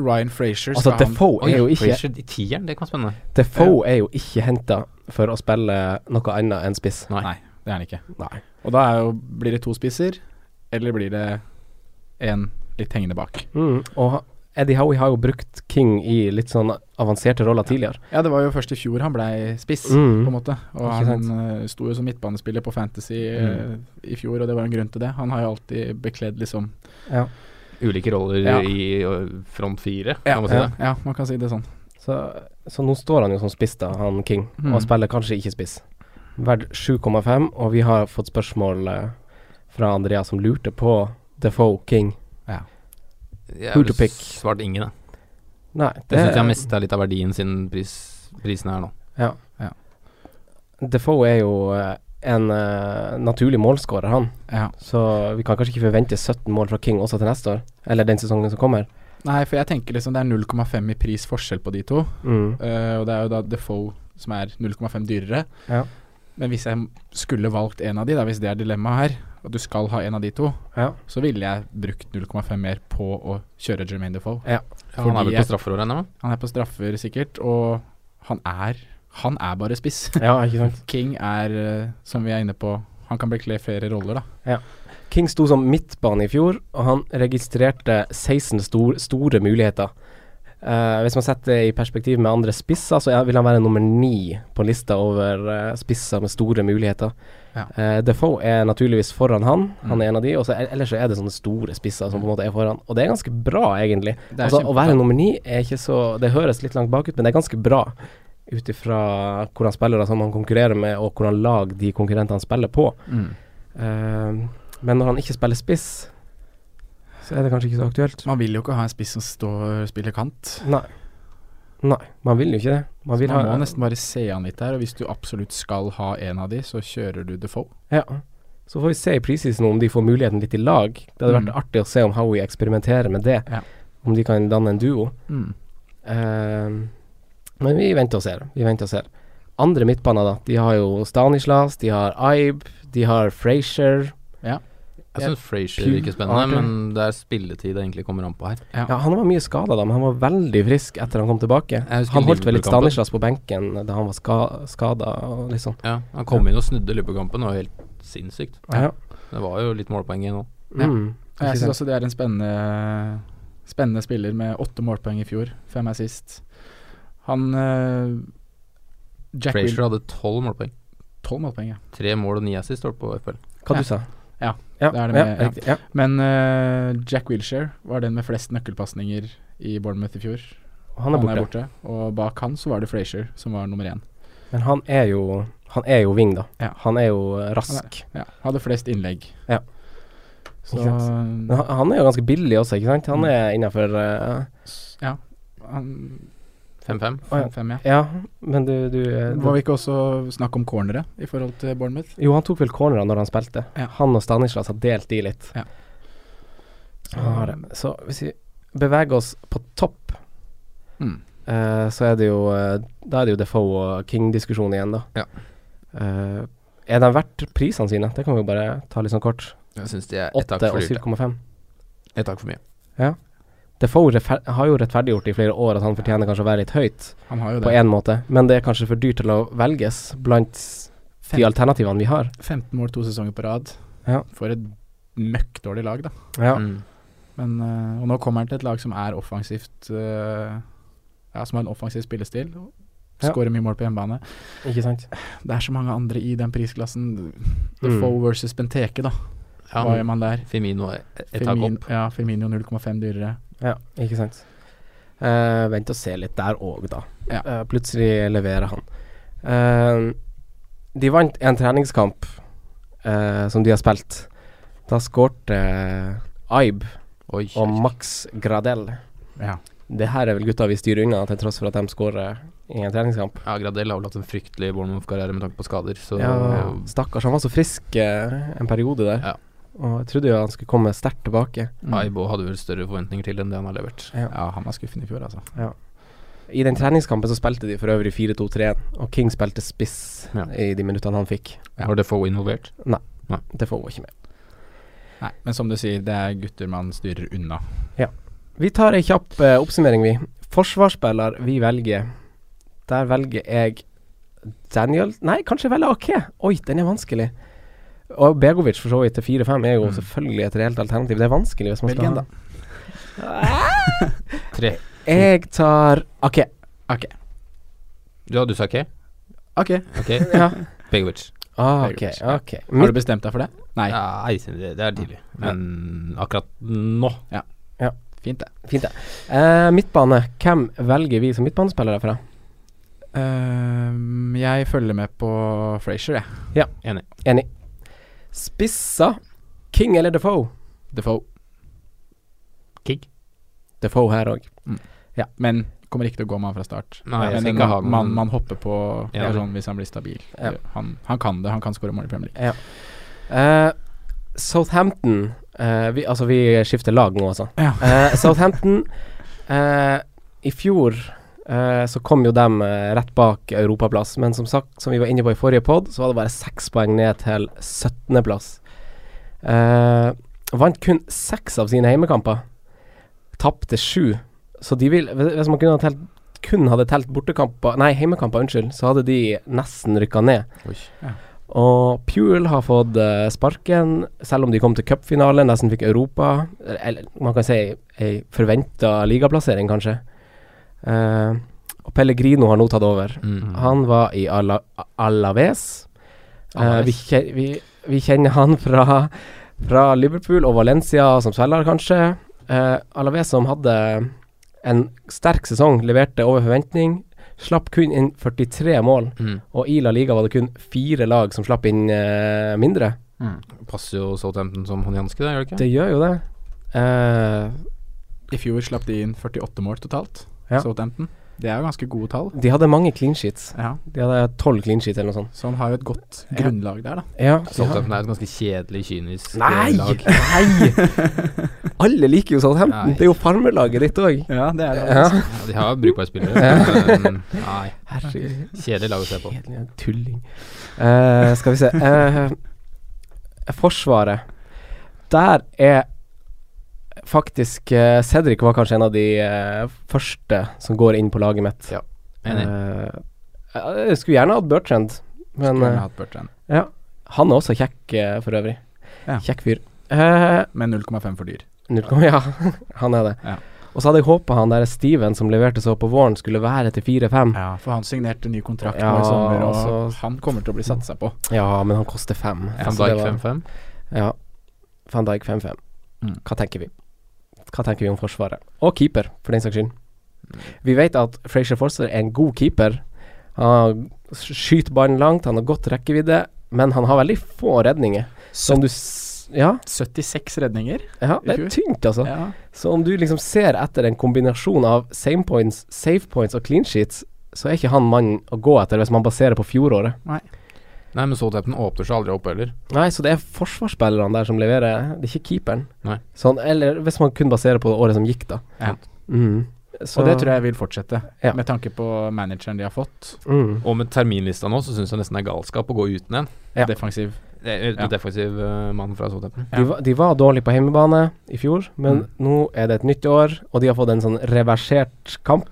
S4: Ryan Frazier
S3: Altså,
S4: skal han
S3: Defoe er jo ikke,
S2: Frazier i tieren, det kan være spennende.
S3: Defoe er jo ikke henta for å spille noe annet enn spiss.
S2: Nei.
S4: Nei, det er han ikke.
S3: Nei.
S4: Og da er jo, blir det to spisser, eller blir det en litt hengende bak.
S3: Mm, og Eddie Howie har jo brukt King i litt sånn avanserte roller tidligere.
S4: Ja, det var jo først i fjor han blei spiss,
S3: Mm.
S4: på en måte. Og
S3: Ikke Mm.
S4: han eh, sto jo som midtbanespiller på Fantasy eh, i fjor, og det var en grunn til det. Han har jo alltid bekledd liksom
S2: Ulike roller
S4: Ja.
S2: i eh, front fire,
S4: Ja,
S2: kan man si
S4: ja,
S2: det.
S4: ja, man kan si det sånn.
S3: Så, så nå står han jo som spiss, da, han King,
S4: Mm.
S3: og spiller kanskje ikke spiss. Verd 7,5, og vi har fått spørsmål eh, fra Andrea som lurte på Defoe King.
S2: Jeg
S3: Who
S2: har
S3: to pick?
S2: svart ingen, da.
S3: Nei,
S2: Jeg
S3: det,
S2: syns jeg har mista litt av verdien sin pris, prisen er nå.
S3: Defoe er jo eh, en eh, naturlig målskårer, han.
S4: Ja.
S3: Så vi kan kanskje ikke forvente 17 mål fra King også til neste år, eller den sesongen som kommer.
S4: Nei, for jeg tenker liksom det er 0,5 i pris forskjell på de to.
S3: Mm.
S4: eh, og det er jo da Defoe som er 0,5 dyrere.
S3: Ja.
S4: Men hvis jeg skulle valgt en av de, da, hvis det er dilemmaet her, og du skal ha en av de to,
S3: Ja.
S4: så ville jeg brukt 0,5 mer på å kjøre Jermaine Defoe.
S2: Ja, han er
S4: Fordi
S2: vel på
S4: jeg-
S2: straffer ennå?
S4: Han er på straffer sikkert, og han er Han er bare spiss.
S3: Ja, ikke sant.
S4: King er, eh, som vi er inne på, han kan bekle flere roller, da.
S3: King sto som midtbane i fjor, og han registrerte 16 stor, store muligheter. Eh, hvis man setter det i perspektiv med andre spisser, så er- vil han være nummer ni på lista over eh, spisser med store muligheter.
S4: Ja. Mm.
S3: Eh, Defoe er naturligvis foran han, han er en av de, og så e- ellers så er det sånne store spisser som på en måte er foran. Og det er ganske bra, egentlig.
S4: Det er
S3: Altså, å
S4: kjempebra.
S3: være nummer ni er ikke så Det høres litt langt bakut, men det er ganske bra ut ifra hvordan spillere som han konkurrerer med, og hvordan lag de konkurrentene spiller på. Eh, men når han ikke spiller spiss, så er det kanskje ikke så aktuelt.
S4: Man vil jo ikke ha en spiss som står spiller kant.
S3: Nei. Nei, man vil jo ikke det. Man vil
S4: Man må
S3: ha
S4: nesten bare se han litt der, og hvis du absolutt skal ha en av de, så kjører du Defoe.
S3: ja. Så får vi se i preseason om de får muligheten litt i lag. Det hadde vært
S4: Mm.
S3: artig å se om Howie eksperimenterer med det.
S4: Ja.
S3: Om de kan danne en duo.
S4: Mm.
S3: Ehm, men vi venter og ser. Vi venter og ser. Andre midtbaner, da. De har jo Stanislas, de har Aib, de har Frazier.
S4: Ja.
S2: Jeg syns Frazier
S3: Pugh,
S2: virker spennende,
S3: Arthur.
S2: men det er spilletid det egentlig kommer an på her.
S4: Ja.
S3: Ja, han var mye skada da, men han var veldig frisk etter han kom tilbake.
S2: husker
S3: Han holdt vel litt
S2: Liverpool-kampen.
S3: Stanislas på benken da han var ska skada og litt sånn.
S2: Ja, Han kom inn og snudde Liverpool-kampen, det var helt sinnssykt.
S3: Ja.
S2: Det var jo litt målpoeng igjen nå.
S4: Ja.
S3: Mm.
S4: Og jeg
S3: Ikke
S4: syns
S3: sant?
S4: også det er en spennende, spennende spiller med åtte målpoeng i fjor. Fem er sist. Han eh, Jack Will
S2: Frazier hadde tolv målpoeng.
S4: tolv målpoeng, ja.
S2: Tre mål og ni assist holdt på FL.
S3: Hva
S4: Ja.
S3: du sa
S4: Ja,
S3: ja,
S4: det er det
S3: ja,
S4: med- ja.
S3: riktig, ja.
S4: Men eh, Jack Wilshere var den med flest nøkkelpasninger i Bournemouth i fjor.
S3: Han er borte.
S4: Og bak han så var det Frazier som var nummer én.
S3: Men han er jo Han er jo wing, da.
S4: Ja.
S3: Han er jo eh, rask.
S4: Ja, hadde flest innlegg.
S3: Ja.
S4: Så eh,
S3: Ikke Men han, han er jo ganske billig også, ikke sant?
S4: Mm.
S3: Han er eh, innafor
S4: Ja. Han
S2: 5-5.
S3: Å, ja.
S4: 5-5, ja.
S3: Ja, men du, du eh,
S4: Var vi ikke også snakk om cornere i forhold til Bournemouth?
S3: Jo, han tok vel cornera når han spilte.
S4: Ja.
S3: Han og Stanislas har delt de litt.
S4: Ja.
S3: Så, har Ah, det- så hvis vi beveger oss på topp,
S4: Mm.
S3: eh, så er det jo eh, Da er det jo Defoe og King-diskusjon igjen, da.
S2: Ja.
S3: Eh, er de verdt prisene sine? Det kan vi jo bare ta litt sånn kort.
S2: Jeg syns de er ett
S3: 8
S2: hakk
S3: og
S2: for dyrt.
S3: 7,5.
S2: ja. Ett hakk for mye.
S3: Defoe rettfer- har jo rettferdiggjort i flere år at han fortjener kanskje å være litt høyt,
S4: Han har jo
S3: på
S4: det.
S3: én måte, men det er kanskje for dyrt til å velges blant s- de
S4: Fem-
S3: alternativene vi har.
S4: 15 mål to sesonger på rad.
S3: Ja.
S4: For et møkkdårlig lag, da.
S3: Ja.
S2: Mm.
S4: Men, eh, og nå kommer han til et lag som er offensivt eh, Ja, som har en offensiv spillestil.
S3: Ja.
S4: Skårer mye mål på hjemmebane.
S3: Ikke sant?
S4: Det er så mange andre i den prisklassen. The
S3: Mm.
S4: Foe versus Benteke, da.
S2: Ja,
S4: Hva gjør man der?
S2: Firmino er ett hakk
S4: Firmin,
S2: opp.
S4: ja, Firmino 0,5 dyrere.
S3: Ja, ikke sant. Eh, vent og se litt der òg, da.
S4: Ja.
S3: Eh, plutselig leverer han. Eh, de vant en treningskamp eh, som de har spilt. Da skårte eh, Aib
S2: Oi.
S3: og Max Gradel.
S4: Ja.
S3: Det her er vel gutta vi styrer unna, til tross for at de skårer i en treningskamp.
S2: Ja, Gradel har vel hatt en fryktelig Bournemouth-karriere med tanke på skader, så
S3: Ja, stakkars. Han var så frisk eh, en periode der.
S2: Ja.
S3: Og jeg trodde jo han skulle komme sterkt tilbake.
S2: Aibo hadde vel større forventninger til enn det han har levert.
S4: Ja, han var skuffende i fjor, altså.
S3: I den treningskampen så spilte de for øvrig 4-2-3, og King spilte spiss
S2: Ja.
S3: i de minuttene han fikk.
S2: Var det få involvert?
S3: Det får hun ikke med.
S4: Nei, men som du sier, det er gutter man styrer unna.
S2: Mm.
S3: Vi tar ei kjapp eh, oppsummering, vi. Forsvarsspiller vi velger. Der velger jeg Daniel Nei, kanskje jeg velger Ake. Oi, den er vanskelig. Og Begovic for så vidt til 4-5 er jo selvfølgelig et reelt alternativ. Det er vanskelig hvis man
S4: Mm. Velg en,
S3: skal
S4: da.
S3: ha Jeg tar Ake.
S2: Ja, du sa ikke?
S4: Ok.
S2: Ok,
S3: Ja.
S2: Begovic.
S3: Ah, ok,
S4: Begovic, ja.
S3: ok.
S4: Har du
S3: Mitt,
S4: bestemt deg for det? Nei.
S2: Nei, det er tidlig. Men akkurat nå
S4: Fint, det.
S3: fint, det. Eh, midtbane. Hvem velger vi som midtbanespillere fra?
S4: Ehm, jeg følger med på Frazier, jeg.
S3: Enig. Spissa. King eller Defoe?
S4: Defoe.
S2: Kick.
S3: Defoe her òg.
S4: Men kommer ikke til å gå med han fra start.
S2: Nei, jeg
S4: men
S2: skal
S4: en
S2: ikke ha noen-
S4: mann man hopper på det
S2: Ja.
S4: er sånn hvis han blir stabil.
S3: Ja.
S4: Han, han kan det, han kan skåre mål i Premier League.
S3: Eh, Southampton eh, vi, Altså, vi skifter lag nå, altså.
S4: Ja.
S3: Eh, Southampton eh, I fjor eh, så kom jo dem eh, rett bak europaplass, men som sagt, som vi var inne på i forrige pod, så var det bare seks poeng ned til 17.-plass. Eh, vant kun seks av sine heimekamper. Tapte sju. Så de vil Hvis man kunne ha telt kun hadde telt bortekamper Nei, heimekamper, unnskyld, så hadde de nesten rykka ned.
S2: Oi.
S4: Ja.
S3: Og Puel har fått eh, sparken, selv om de kom til cupfinale, nesten fikk Europa Eller man kan si ei forventa ligaplassering, kanskje. Eh, og Pellegrino har nå tatt over.
S2: Mm.
S3: Han var i Ala Alaves. Eh,
S2: Alaves.
S3: vi, kje- vi, vi kjenner han fra, fra Liverpool og Valencia som spiller, kanskje. Eh, Alaves som hadde en sterk sesong, leverte over forventning. Slapp kun inn 43 mål,
S2: Mm.
S3: og i La Liga var det kun fire lag som slapp inn eh, mindre.
S2: Passer jo Southampton som hånd i hanske, det, gjør det ikke?
S3: Det gjør jo det. Eh,
S4: I fjor slapp de inn 48 mål totalt,
S3: Ja.
S4: Southampton. Det er jo ganske gode tall.
S3: De hadde mange clean sheets.
S4: Ja.
S3: De hadde tolv clean sheets eller noe sånt.
S4: Så han har jo et godt grunnlag der, da.
S3: Ja, de har-
S2: Southampton er et ganske kjedelig, kynisk eh,
S3: Nei!
S2: lag.
S3: Nei! Alle liker jo Southampton.
S2: Nei.
S3: Det er jo farmerlaget ditt òg.
S4: Ja, det er det.
S3: Ja.
S4: altså.
S2: Ja, de har brukbare spillere. men, Nei,
S3: Herregud.
S2: kjedelig lag å se på.
S3: Kjedelig tulling. Eh, skal vi se Eh, Forsvaret. Der er faktisk eh, Cedric var kanskje en av de eh, første som går inn på laget mitt.
S2: Ja, enig.
S3: Eh, eh, jeg skulle gjerne hatt Bertrand, men
S4: Skulle gjerne
S3: eh,
S4: hatt Bertrand.
S3: ja. han er også kjekk eh, for øvrig.
S4: Ja.
S3: Kjekk fyr. Eh,
S4: Men 0,5 for dyr.
S3: Null komma- ja, han er det.
S4: Ja.
S3: Og så hadde jeg håpa han der Steven som leverte så på våren, skulle være til 4-5.
S4: Ja, for han signerte ny kontrakt
S3: Ja,
S4: nå i sommer, og
S3: altså-
S4: han kommer til å bli satsa på.
S3: Ja, men han koster 5.
S2: Van Dijk 5-5.
S3: Ja. Van Dijk 5-5.
S2: Mm.
S3: Hva tenker vi? Hva tenker vi om forsvaret? Og keeper, for den saks skyld. Vi vet at Frazier Forster er en god keeper. Han skyter ballen langt, han har godt rekkevidde, men han har veldig få redninger. Så om du s ja,
S4: 76 redninger.
S3: ja, det er
S4: I fjor.
S3: tynt, altså.
S4: Ja.
S3: Så om du liksom ser etter en kombinasjon av same points, safe points og clean sheets, så er ikke han mannen å gå etter hvis man baserer på fjoråret.
S2: Nei, men Southampton åpner seg aldri opp heller.
S3: Nei, så det er forsvarsspillerne der som leverer, det er ikke keeperen.
S2: Nei.
S3: Sånn, eller hvis man kun baserer på året som gikk, da.
S4: Ja.
S3: Mm. Så,
S4: Og det tror jeg vil fortsette,
S3: Ja.
S4: med tanke på manageren de har fått.
S3: mm.
S2: Og med terminlista nå, så syns jeg nesten det er galskap å gå uten en.
S3: Ja.
S4: Defensiv.
S2: Det er
S4: Ja.
S2: en defensiv eh, mann fra Southampton.
S3: de, var, de var dårlige på hjemmebane i fjor, men
S2: Mm.
S3: nå er det et nytt år, og de har fått en sånn reversert kamp.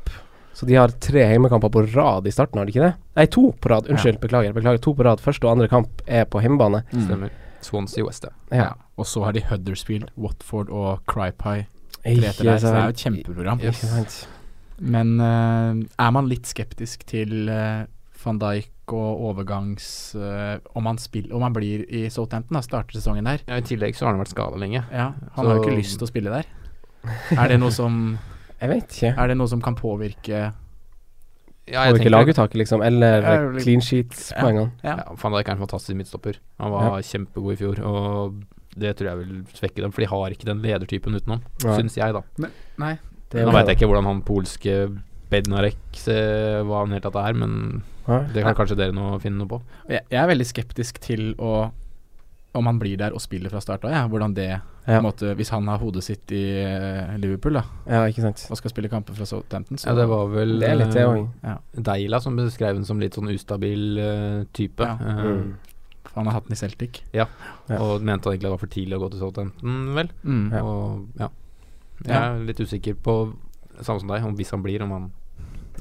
S3: Så de har tre heimekamper på rad i starten, har de ikke det? Nei, to på rad. Unnskyld, beklager. beklager. To på rad. Første og andre kamp er på hjemmebane.
S4: Mm.
S2: Stemmer. Swansea West, ja.
S3: Ja.
S4: Ja. Og så har de Huddersfield, Watford og Crypie. Tre
S3: Ikke
S4: etter der, så det er
S3: sant.
S4: jo et kjempeprogram.
S3: altså, Ikke sant.
S4: Men eh, er man litt skeptisk til eh, van Dijk og overgangs... eh, om, han spill, om han blir i Southampton, da, starter sesongen der.
S2: ja. I tillegg så har han vært skada lenge.
S4: Ja, han
S2: Så-
S4: har jo ikke lyst til å spille der. Er det noe som,
S3: Jeg vet ikke.
S4: er det noe som kan påvirke
S2: Ja,
S3: Har vi ikke laguttaket, liksom? Eller
S4: Ja, vel-
S3: clean sheets-poengene?
S2: Ja, Van Dijk er en fantastisk midtstopper. Han var kjempegod i fjor, og det tror jeg vil svekke dem. For de har ikke den ledertypen utenom,
S3: Nei.
S2: syns jeg, da.
S4: Nei.
S3: Det er
S2: Nå
S3: bra,
S2: veit jeg ikke hvordan han polske Bednarek eh, hva han helt tatt er, men
S3: da. Ja.
S2: det kan kanskje dere nå finne noe på.
S4: Jeg, jeg er veldig skeptisk til å om han blir der og spiller fra start av, ja. hvordan det på
S3: Ja.
S4: en måte, Hvis han har hodet sitt i eh, Liverpool da,
S3: Ja, ikke sant.
S4: og skal spille kamper fra Southampton, så
S2: Ja, det var vel
S3: Det er litt det
S2: eh,
S3: òg.
S2: Deila som beskrev den som litt sånn ustabil eh, type.
S4: Ja.
S2: Eh,
S3: Mm.
S4: Han har hatt den i Celtic.
S3: Ja.
S2: Og mente han egentlig det var for tidlig å gå til Southampton, vel.
S4: Mm.
S3: Ja.
S2: Og ja. Jeg
S4: Ja.
S2: er litt usikker på, samme som deg, om hvis han blir, om han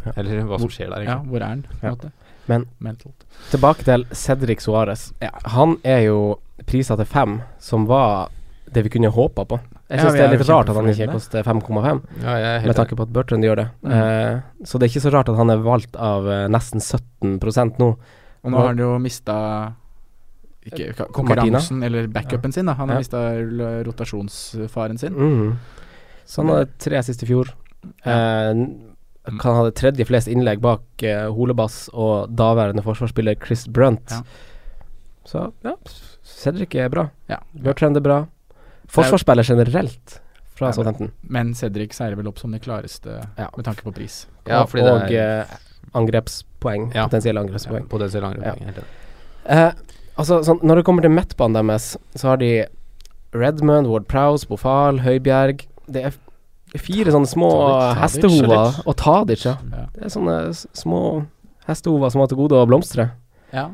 S3: Ja.
S2: Eller hva som skjer der,
S4: Ja,
S2: egentlig.
S4: hvor er han? på en
S3: Ja.
S4: måte?
S3: Men-
S4: Mentalt.
S3: Tilbake til Cedric Suárez.
S4: Ja.
S3: Han er jo prisa til fem, som var det vi kunne håpa på. Jeg
S4: Ja,
S3: syns
S4: vi
S3: det
S4: er
S3: er litt
S4: jo
S3: rart at han
S4: kjempefornøyde.
S3: ikke koster 5,5,
S2: Ja, jeg er helt
S3: med tanke på at Bertrand gjør det.
S4: Mm.
S3: Eh, så det er ikke så rart at han er valgt av eh, nesten 17 nå. Eh,
S4: Og nå har han jo mista ikke, ka- konkurransen eller backupen sin. da Han
S3: Ja.
S4: har mista rotasjonsfaren sin.
S2: Mhm.
S3: Mm. Så han hadde tre sist i fjor. Eh, n- han hadde tredje flest innlegg bak eh, Holebass og daværende forsvarsspiller Chris Brunt.
S4: Ja.
S3: Så ja, Cedric er bra.
S4: Ja.
S3: Bertrand er bra. Forsvarsspiller generelt fra
S4: Ja, men-
S3: Southampton.
S4: Men Cedric seiler vel opp som det klareste
S3: Ja.
S4: med tanke på pris.
S2: Ja, fordi det
S3: og
S2: er-
S3: eh, angrepspoeng.
S2: Ja.
S3: Potensielle
S2: Ja,
S3: angrepspoeng.
S2: på det ser langere
S3: Ja.
S2: poeng, helt enig.
S3: Eh, altså, sånn, når det kommer til midtbanen deres, så har de Redmond, Ward Prowse, Bofal, Høibjerg Det er f- fire sånne små
S2: Tadic, Tadic,
S3: hestehover.
S2: Tadic.
S3: Og Tadic, ja.
S4: Ja.
S3: Det er sånne s- små hestehover som har til gode å blomstre.
S4: Ja.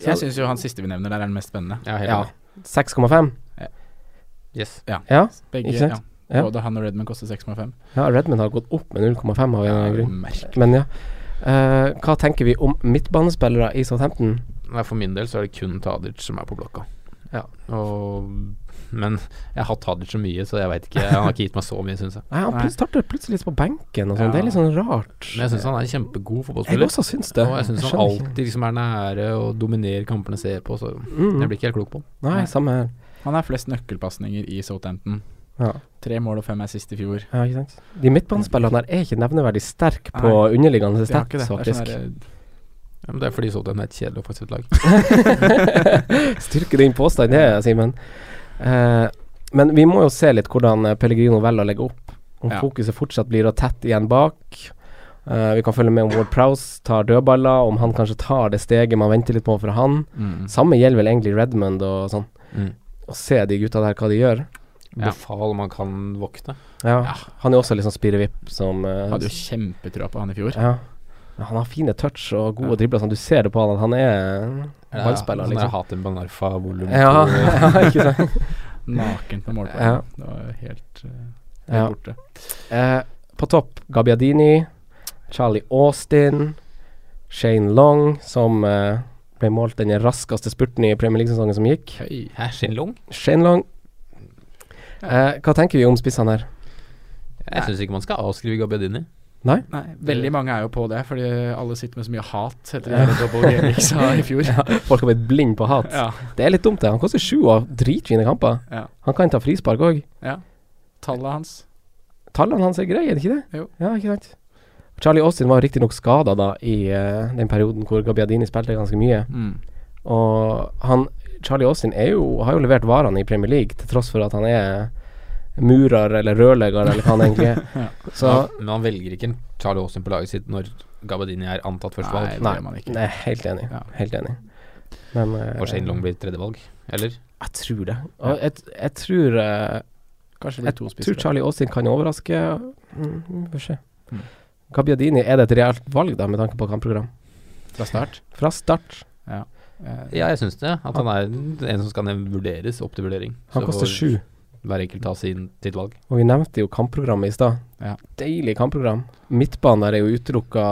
S3: Så-
S4: Jeg syns jo han siste vi nevner der, er den mest spennende.
S2: Ja, helt
S3: Ja.
S2: enig.
S3: 6,5.
S2: Yes.
S3: Ja.
S4: Begge,
S3: Ikke sant?
S4: Ja.
S3: Ja.
S4: Både han og Redman koster 6,5.
S3: ja, Redmond har gått opp med 0,5 av en eller annen grunn.
S4: merkelig.
S3: Men ja. Eh, hva tenker vi om midtbanespillere i Southampton?
S2: Nei, for min del så er det kun Tadic som er på blokka.
S3: Ja.
S2: Og, men jeg har hatt Tadic så mye, så jeg veit ikke. Han har ikke gitt meg så mye, syns jeg.
S3: Nei, han
S4: Nei.
S3: plut- starter plutselig litt på benken og sånn.
S4: Ja.
S3: Det er litt sånn rart.
S2: Men jeg syns han er en kjempegod
S3: Jeg
S2: fotballspiller.
S3: også syns det.
S2: Og jeg syns han
S3: skjønner ikke.
S2: alltid liksom er nære og dominerer kampene jeg ser på, så
S3: Mm.
S2: jeg blir ikke helt klok på ham.
S3: Nei, samme her.
S4: Han har flest nøkkelpasninger i Southampton.
S3: Ja.
S4: Tre mål og fem er sist i fjor.
S3: Ja, ikke sant. De midtbanespillerne der er ikke nevneverdig sterke på
S4: Nei,
S3: underliggende
S4: har ikke
S3: stats,
S4: det. Det er sånn
S3: faktisk.
S4: der,
S2: Ja, men det er fordi Southampton er et kjedelig offensivt lag.
S3: Styrke din påstand, det, Simen. Eh, men vi må jo se litt hvordan eh, Pellegrino velger å legge opp. Om
S4: Ja.
S3: fokuset fortsatt blir å tett igjen bak, Eh, vi kan følge med om Ward Prowse tar dødballer, om han kanskje tar det steget man venter litt på fra han.
S2: Mm.
S3: Samme gjelder vel egentlig Redmond og sånn.
S2: Mm.
S3: Å se de gutta der, hva de gjør.
S2: Ja. Befal man kan våkne.
S3: Ja. Han er også litt sånn spirevipp som eh,
S4: Hadde jo kjempetrua på han i fjor.
S3: ja. Men Han har fine touch og gode dribler. Sånn. Du ser det på han at han er ballspiller,
S2: Sånn er
S3: liksom.
S2: Hatem Banarfa volum
S3: Ja,
S2: to.
S3: ikke sant?
S4: Nakent med målpoeng.
S3: Ja.
S4: Det var helt, eh, helt
S3: Ja.
S4: borte.
S3: Eh, på topp Gabbiadini, Charlie Austin, Shane Long, som eh, ble målt den raskeste spurten i Premier League-sesongen som gikk.
S4: Høy.
S2: Hæ, Shinlong?
S3: Shane Long. Eh, hva tenker vi om spissene her?
S2: Jeg syns ikke man skal avskrive Gabbiadini.
S3: Nei?
S4: Nei, veldig mange er jo på det, fordi alle sitter med så mye hat etter det her Double Gaelic sa i fjor.
S3: Ja, folk har blitt blind på hat.
S4: Ja,
S3: Det er litt dumt, det. Han koster sju og har dritfine kamper.
S4: Ja.
S3: Han kan ta frispark òg.
S4: ja. Tallet hans.
S3: Tallene hans er greie, er det ikke det?
S4: Jo.
S3: Ja, ikke sant? Charlie Austin var riktignok skada da i eh, den perioden hvor Gabbiadini spilte ganske mye.
S4: Mm.
S3: Og han Charlie Austin er jo, har jo levert varene i Premier League, til tross for at han er murer eller rørlegger eller hva han egentlig er. Så
S2: Ja, men han velger ikke en Charlie Austin på laget sitt når Gabbiadini er antatt
S4: Nei,
S2: førstevalg.
S4: det
S3: Nei.
S4: gjør man ikke.
S3: Nei, helt enig.
S4: Ja.
S3: Helt enig. Men eh,
S2: Og Shane Long blir tredjevalg, eller?
S3: Jeg tror det. Og jeg, jeg tror eh,
S4: Kanskje det
S3: Jeg
S4: blir to
S3: tror
S4: spisser.
S3: Charlie Austin kan overraske. Mm, vi får se.
S4: Mm.
S3: Gabbiadini, er det et reelt valg da, med tanke på kampprogram?
S4: Fra start.
S3: Fra start.
S4: Eh,
S2: Ja, jeg syns det. At han er en som skal vurderes opp til vurdering.
S3: Han
S2: Så
S3: koster sju.
S2: Hver enkelt ta sin, sitt valg.
S3: Og vi nevnte jo kampprogrammet i stad.
S4: Ja.
S3: Deilig kampprogram. Midtbanen der er jo utelukka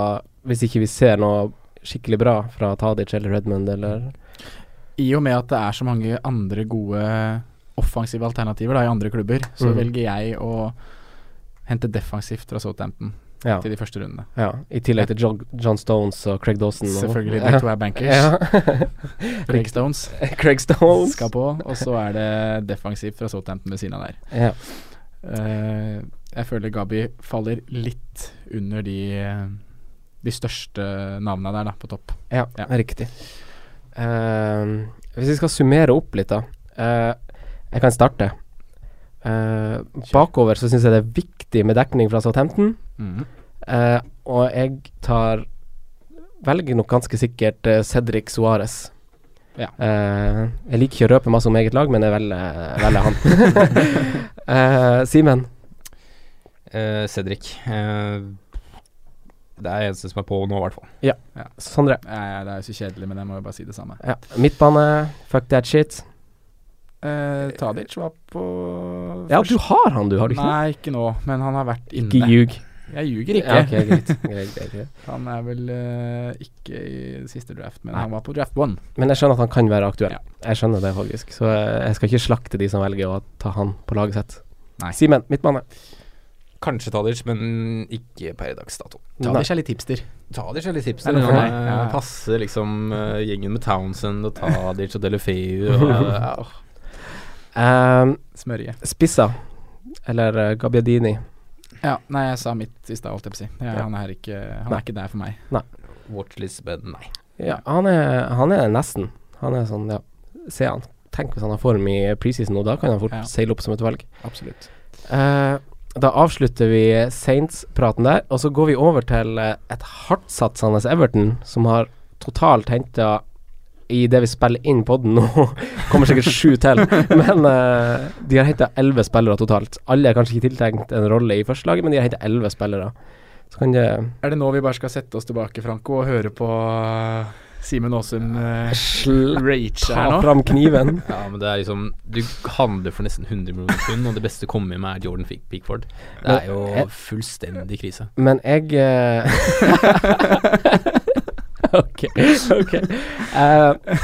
S3: hvis ikke vi ser noe skikkelig bra fra Tadic eller Redmond eller
S4: I og med at det er så mange andre gode offensive alternativer da, i andre klubber, så
S3: Mhm.
S4: velger jeg å hente defensivt fra Southampton
S3: Ja.
S4: til de første rundene.
S3: ja. I tillegg til Jog- John Stones og Craig Dawson. og-
S4: Selvfølgelig.
S3: Ja.
S4: Back to our bankers.
S3: Ja.
S4: Craig Stones
S3: Craig Stones.
S4: skal på, og så er det defensivt fra Southampton ved siden av der.
S3: Ja.
S4: Eh, jeg føler Gabi faller litt under de, de største navnene der, da, på topp.
S3: Ja,
S4: Ja.
S3: riktig. Ehm, hvis vi skal summere opp litt, da. Eh, jeg kan starte. Eh, bakover så syns jeg det er viktig med dekning fra Southampton.
S4: Mm.
S3: Eh, og jeg tar Velger nok ganske sikkert eh, Cedric Suárez.
S4: Ja.
S3: Eh, jeg liker ikke å røpe masse om eget lag, men jeg velger, velger han. Eh, Simen.
S2: Eh, Cedric. eh, det er eneste som er på nå, i hvert fall.
S3: Sondre.
S4: Nei, det er jo så kjedelig, men jeg må jo bare si det samme.
S3: Ja. Midtbane. Fuck that shit.
S4: Eh, Tadic var på
S3: Ja, du har han, du, har du ikke? det?
S4: Nei, ikke nå, men han har vært inne.
S3: Ikke ljug.
S4: Jeg ljuger ikke.
S3: Ja, ok, greit. greit, greit, greit.
S4: Han er vel eh, ikke i siste draft, men
S3: Nei.
S4: han var på draft one.
S3: Men jeg skjønner at han kan være aktuell.
S4: Ja.
S3: Jeg skjønner det faktisk. Så eh, jeg skal ikke slakte de som velger å ta han på laget sitt.
S4: Nei.
S3: Simen, midtbane.
S2: Kanskje Tadic, men ikke per dags dato.
S3: Nei.
S4: Tadic er litt hipster.
S2: Tadic er litt hipster.
S4: Er det for
S2: Han
S4: deg?
S2: eh,
S4: Ja, ja.
S2: passer liksom eh, gjengen med Townsend og Tadic og Delefeu. Og, ja, åh.
S3: Ehm,
S4: Smørje.
S3: spissa, eller eh, Gabbiadini.
S4: Ja, nei, jeg sa mitt i stad, holdt jeg på å si. Ja,
S3: Ja.
S4: Han, er ikke, han
S3: Nei.
S4: er ikke der for meg.
S2: Watchlist, men nei.
S3: Ja, han er, han er nesten. Han er sånn, ja. Se han. Tenk hvis han har form i preseason nå, da kan han fort
S4: Ja.
S3: seile opp som et valg.
S4: Absolutt.
S3: Eh, da avslutter vi Saints-praten der, og så går vi over til eh, et hardtsatsende Everton, som har totalt henta i det vi spiller inn podden nå, kommer sikkert sju til, men eh, de har henta elleve spillere totalt. Alle er kanskje ikke tiltenkt en rolle i førstelaget, men de har henta elleve spillere. Så kan det
S4: Er det nå vi bare skal sette oss tilbake, Franco, og høre på eh, Simen Aasum eh,
S3: Sla-
S4: rage
S3: ta
S4: her nå?
S3: fram kniven.
S2: Ja, men det er liksom Du handler for nesten 100 millioner pund, og det beste å komme med er Jordan Pick- Pickford. Det er jo
S4: eh,
S3: Men-
S2: fullstendig krise.
S3: Men jeg eh, Ok. ok Eh, eh,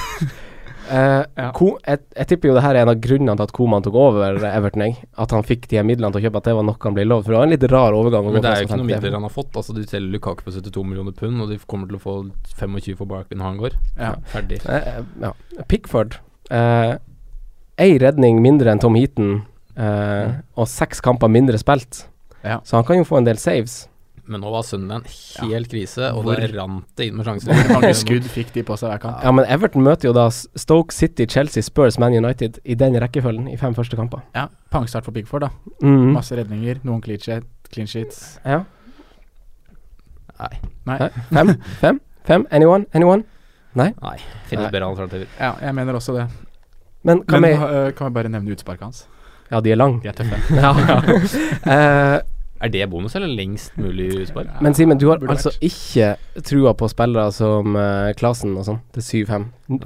S4: Ja.
S3: Ko- jeg, jeg tipper jo det her er en av grunnene til at Koman tok over Everton. Jeg. At han fikk de her midlene til å kjøpe, at det var noe han ble lovd. For det var en litt rar overgang. å gå sånn
S2: Men det
S3: fra
S2: er jo ikke
S4: sånn
S2: noen
S3: 50.
S2: midler han har fått. Altså, Du selger Lukaku på 72 millioner pund, og de kommer til å få 25 for Barkley når han går.
S4: Ja.
S2: Ferdig.
S3: Eh, eh, ja. Pickford. Uh, Ei redning mindre enn Tom Heaton, eh,
S2: Mm.
S3: og seks kamper mindre spilt.
S4: Ja.
S3: Så han kan jo få en del saves.
S2: Men nå var Sunderland helt krise, og
S4: Hvor-
S2: det rant det inn med sjanser.
S4: Hvor mange skudd fikk de på seg hver kamp?
S3: Ja, men Everton møter jo da S- Stoke City, Chelsea, Spurs, Man United i den rekkefølgen i fem første kamper.
S4: Ja, Pangstart for Pickford, da.
S3: Mm.
S4: Masse redninger, noen clean sheet- clean sheets.
S3: Ja.
S2: Nei.
S4: Nei.
S3: Fem? Fem? Fem? Anyone? Anyone? Nei?
S2: Nei. Finnes bedre alternativer.
S4: Ja, jeg mener også det.
S3: Men kan
S4: Men
S3: vi
S4: øh, kan jeg bare nevne utsparket hans?
S3: Ja, de er lange.
S4: De er tøffe.
S3: ja. Eh,
S2: Er det bonus eller lengst mulig utspark?
S3: men Simen, du har
S4: burde
S3: altså ikke trua på spillere som uh, Klasen og sånn til 7-5.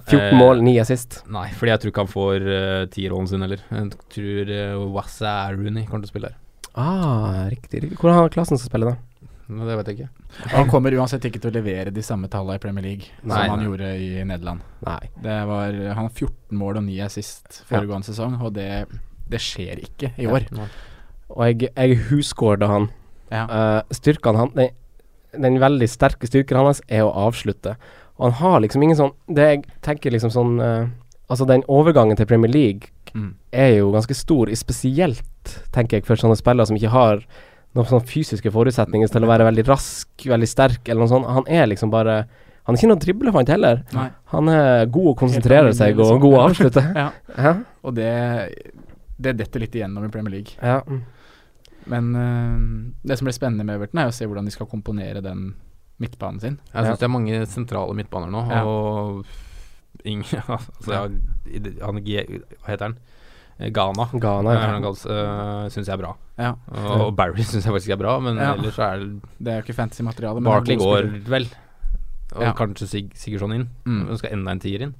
S3: 14
S2: Eh,
S3: mål, 9 assist.
S2: Nei, fordi jeg tror ikke han får eh, tierrollen sin heller. Jeg tror uh, Wassa Rooney kommer til å spille her.
S3: Ah, riktig. riktig. Hvordan har Klasen som spiller da?
S2: Men det vet jeg ikke.
S4: Og han kommer uansett ikke til å levere de samme tallene i Premier League
S2: Nei,
S4: som han
S2: nei.
S4: gjorde i Nederland.
S3: Nei.
S4: Det var, han har 14 mål og 9 assist foregående sesong, og det, det skjer ikke i år.
S3: Og jeg, jeg husgårda han.
S4: Ja.
S3: Eh, styrkene han den, den veldig sterke styrken hans er å avslutte. Og han har liksom ingen sånn Det jeg tenker liksom sånn eh, Altså, den overgangen til Premier League
S4: Mm.
S3: er jo ganske stor, i spesielt, tenker jeg, for sånne spillere som ikke har noen sånne fysiske forutsetninger til å være veldig rask, veldig sterk eller noe sånt. Han er liksom bare Han er ikke noen driblefant heller.
S4: Nei.
S3: Han er god å konsentrere
S4: Helt
S3: seg
S4: alminnelig,
S3: og
S4: liksom.
S3: god å avslutte.
S4: Ja.
S3: Hæ?
S4: Og det, det detter litt igjennom i Premier League.
S3: Ja. mm.
S4: Men øh, det som blir spennende med Everton, er jo å se hvordan de skal komponere den midtbanen sin.
S2: Jeg syns det er mange sentrale midtbaner nå,
S4: Ja.
S2: og ingen altså, ja, i det- han, G- Hva heter han? Eh, Ghana.
S3: Ghana, ja.
S2: Uh, syns jeg er bra.
S4: Ja,
S2: Og, og Barry syns jeg faktisk er bra, men
S4: Ja.
S2: ellers så er det
S4: Det er jo ikke fantasy-materiale. men det
S2: Barkley
S4: er gode
S2: går
S4: spillere.
S2: vel. Og
S4: Ja.
S2: kanskje Sig Sigurdsson inn.
S4: Mm.
S2: Men skal enda en tier inn.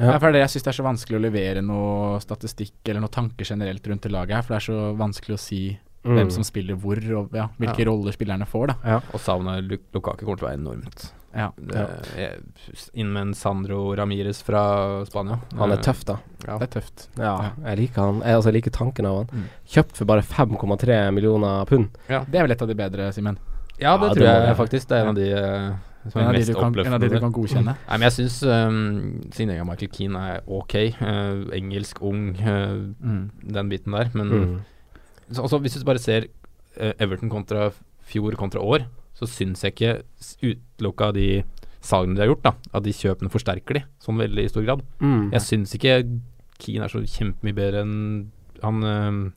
S3: Ja.
S4: Ja. for det er det jeg syns det er så vanskelig å levere noe statistikk eller noe tanker generelt rundt det laget her, for det er så vanskelig å si
S3: Mm.
S4: hvem som spiller hvor, og ja, hvilke roller spillerne får, da.
S2: Og savnet Lu- Lukaku kommer til å være enormt.
S4: Ja.
S2: Det, jeg- Eh, inn med en Sandro Ramires fra Spania.
S3: Han
S2: Eh,
S3: er tøff, da.
S2: Ja.
S4: Det er tøft.
S3: Ja, jeg liker han. Jeg, altså, jeg liker tanken av han.
S4: Mm.
S3: Kjøpt for bare 5,3 millioner pund.
S4: Det er vel et av de bedre, Simen.
S2: Ja,
S3: Ja,
S2: det
S3: det
S2: tror
S3: må
S2: jeg
S3: det.
S2: faktisk. Det er en av de eh,
S4: En
S2: som er
S4: av de
S2: mest
S4: du kan, en av de du
S2: oppløftende.
S4: kan godkjenne.
S2: Nei, men jeg syns um, signeringen av Michael Keane er ok. eh, engelsk, ung, eh,
S4: Mm.
S2: den biten der. Men
S3: Mm.
S2: så, også, hvis du bare ser eh, Everton kontra fjor kontra år, så syns jeg ikke s- utelukka de salgene de har gjort, da, at de kjøpene forsterker de, sånn veldig i stor grad.
S3: Mm.
S2: Jeg syns ikke Keane er så kjempemye bedre enn han uh,